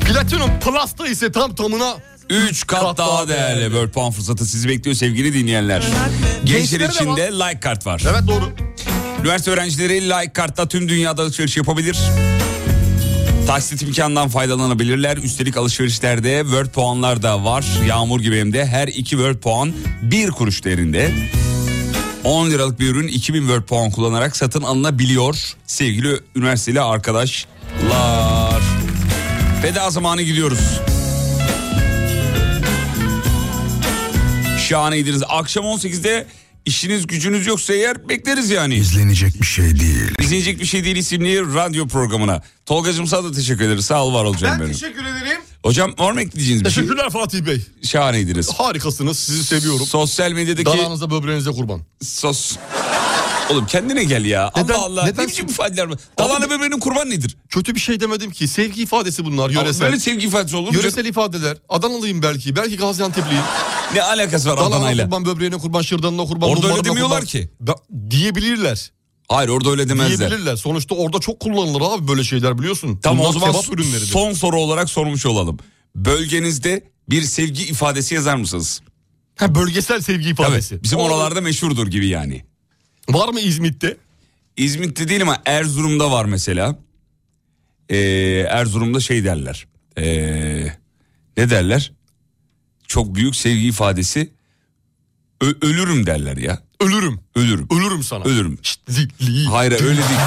Platinum Plus'ta ise tam tamına 3 kat, Kat daha daha değerli. değerli. World puan fırsatı sizi bekliyor sevgili dinleyenler. Gençler Gençlere de için de like kart var. evet doğru. Üniversite öğrencileri like kartla tüm dünyada alışveriş yapabilir. Taksit imkanından faydalanabilirler. Üstelik alışverişlerde Word puanlar da var. Yağmur gibi hem de her iki Word puan bir kuruş değerinde. 10 liralık bir ürün 2000 Word puan kullanarak satın alınabiliyor. Sevgili üniversiteli arkadaşlar. Veda zamanı gidiyoruz. Şahaneydiniz. Akşam 18'de işiniz gücünüz yoksa eğer bekleriz yani. İzlenecek bir şey değil. İzleyecek bir şey değil isimli radyo programına. Tolgacığım sana da teşekkür ederiz. Sağ ol var olacağım benim. teşekkür ederim. Hocam var mı ekleyeceğiniz bir şey? Teşekkürler Fatih Bey. Şahaneydiniz. Harikasınız. Sizi seviyorum. Sosyal medyadaki Dalağınıza böbreğinize kurban. sos... Oğlum kendine gel ya. Neden- Allah Allah. neden- Ne biçim ifadeler var? Dalağına bebeğinin kurban nedir? Kötü bir şey demedim ki. Sevgi ifadesi bunlar yöresel. Böyle sevgi ifadesi olur mu? Yöresel ifadeler. Adanalıyım belki. Belki Gaziantep'liyim. [LAUGHS] Ne alakası var Dalağına Adana'yla? kurban, böbreğine kurban, şırdanına kurban, Orada öyle mumbarına demiyorlar kurban. ki. Da- diyebilirler. Hayır orada öyle demezler. Diyebilirler. Sonuçta orada çok kullanılır abi böyle şeyler biliyorsun. Tamam Bunlar o zaman kebap ürünleridir. son soru olarak sormuş olalım. Bölgenizde bir sevgi ifadesi yazar mısınız? Ha, bölgesel sevgi Tabii. ifadesi. Bizim O- oralarda meşhurdur gibi yani. Var mı İzmit'te? İzmit'te değil ama Erzurum'da var mesela. Ee, Erzurum'da şey derler. Ee, ne derler? Çok büyük sevgi ifadesi. Ö- ölürüm derler ya. Ölürüm. Ölürüm. Ölürüm sana. Ölürüm. Şşt, zilli. Hayır öyle değil.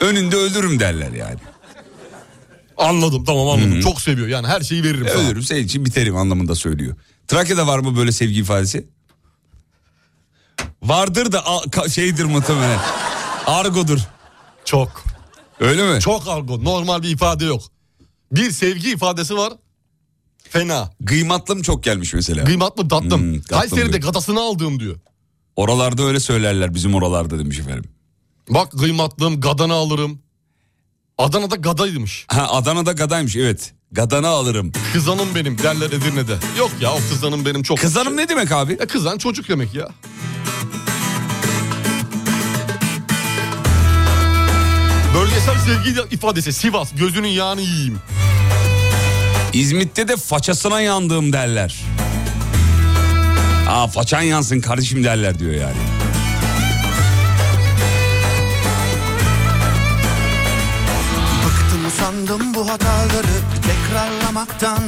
Önünde ölürüm derler yani. Anladım tamam anladım. Çok seviyor yani her şeyi veririm sana. Ölürüm senin için biterim anlamında söylüyor. Trakya'da var mı böyle sevgi ifadesi? Vardır da a- ka- şeydir muhtemelen. Argodur. Çok. Öyle mi? Çok argo. Normal bir ifade yok. Bir sevgi ifadesi var. Fena. Gıymatlım çok gelmiş mesela. Kıymatlı tatlım. Hmm, tatlım Kayseri'de diyor. gadasını aldım diyor. Oralarda öyle söylerler bizim oralarda demiş efendim. Bak kıymatlım gadanı alırım. Adana'da gadaymış. Ha Adana'da gadaymış evet. Gadana alırım. Kızanım benim derler Edirne'de. Yok ya o kızanım benim çok. Kızanım ne demek abi? Ya kızan çocuk demek ya. Bölgesel sevgi ifadesi Sivas gözünün yağını yiyeyim. İzmit'te de façasına yandığım derler. Aa façan yansın kardeşim derler diyor yani. Bıktım usandım bu hataları tekrarlamaktan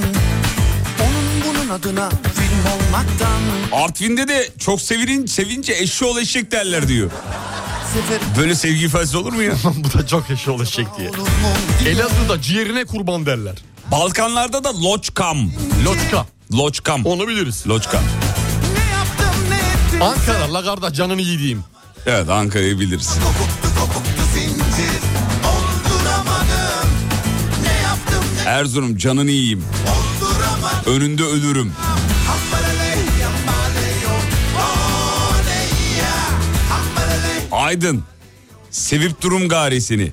Onun bunun adına film olmaktan Artvin'de de çok sevinin sevince eşi ol eşek derler diyor. Sefer Böyle sevgi ifadesi [LAUGHS] olur mu ya? Bu da çok eşi olacak diye. olur mu? Elazığ'da ciğerine kurban derler. Balkanlarda da loçkam. Loçka. Loçkam. Onu biliriz. Loçkam. Ne yaptım ne ettim Ankara lagarda canını yediğim. Evet Ankara'yı biliriz. Kopuktu kopuktu zincir Olduramadım Ne yaptım ne Erzurum canını yiyeyim. olduramadım Önünde ölürüm. Ambaraley ambaraley Oh neyya Ambaraley Aydın. Sevip durum garisini.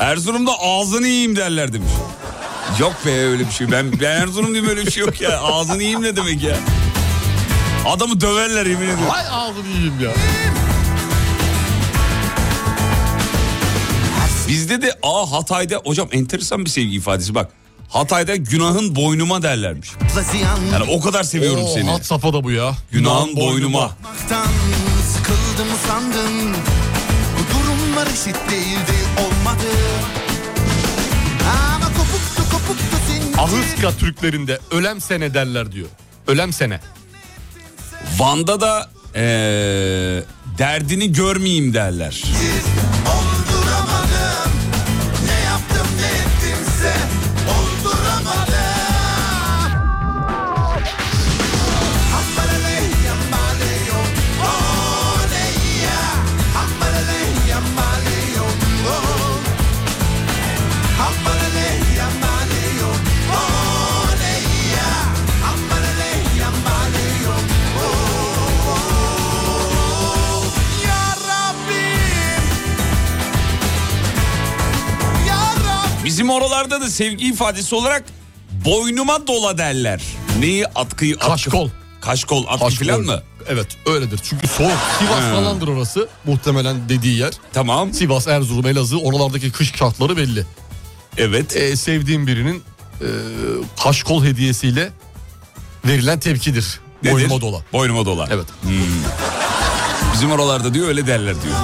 Erzurum'da ağzını yiyeyim derler demiş. Yok be öyle bir şey. Ben, ben Erzurumluyum öyle bir şey yok ya. Ağzını yiyeyim ne demek ya? Adamı döverler yemin ediyorum. Hay ağzını yiyeyim ya. Bizde de a Hatay'da hocam enteresan bir sevgi ifadesi bak. Hatay'da günahın boynuma derlermiş. Yani o kadar seviyorum Oo, seni. Hat safhada bu ya. Günahın boynuma. Bakmaktan sıkıldım sandım Bu durumlar eşit değildi olmadı Ama kopuktu kopuktu zincir Ahıska Türklerinde ölem sene derler diyor. Ölem sene. Van'da da eee, derdini görmeyeyim derler. Olduramadım Ne yaptım ne ettimse Olduramadım Bizim oralarda da sevgi ifadesi olarak boynuma dola derler. Neyi atkıyı atkı. Kaşkol. Kaşkol atkı Aşk falan boynu. mı? Evet öyledir. Çünkü soğuk. Sivas He. falandır orası. Muhtemelen dediği yer. Tamam. Sivas, Erzurum, Elazığ oralardaki kış şartları belli. Evet. Ee, sevdiğim birinin e, kaşkol hediyesiyle verilen tepkidir. Nedir? Boynuma dola. Boynuma dola. Hmm. Evet. Bizim oralarda diyor öyle derler diyor.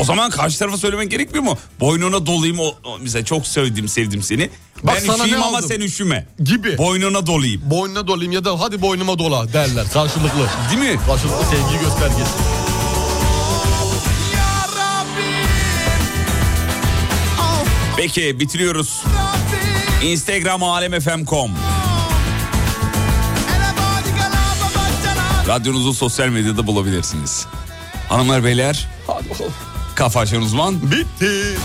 O zaman karşı tarafa söylemek gerekmiyor mu? Boynuna dolayım o, o- mesela çok sevdim sevdim seni. Bak ben sana ne üşüyeyim ama aldım. sen üşüme. Gibi. Boynuna dolayım. Boynuna dolayım ya da hadi boynuma dola derler karşılıklı. Değil mi? Karşılıklı sevgi göstergesi. Peki bitiriyoruz. Instagram alemfm.com Radyonuzu sosyal medyada bulabilirsiniz. Hanımlar beyler. Hadi bakalım. Kafa açan uzman. Bitti.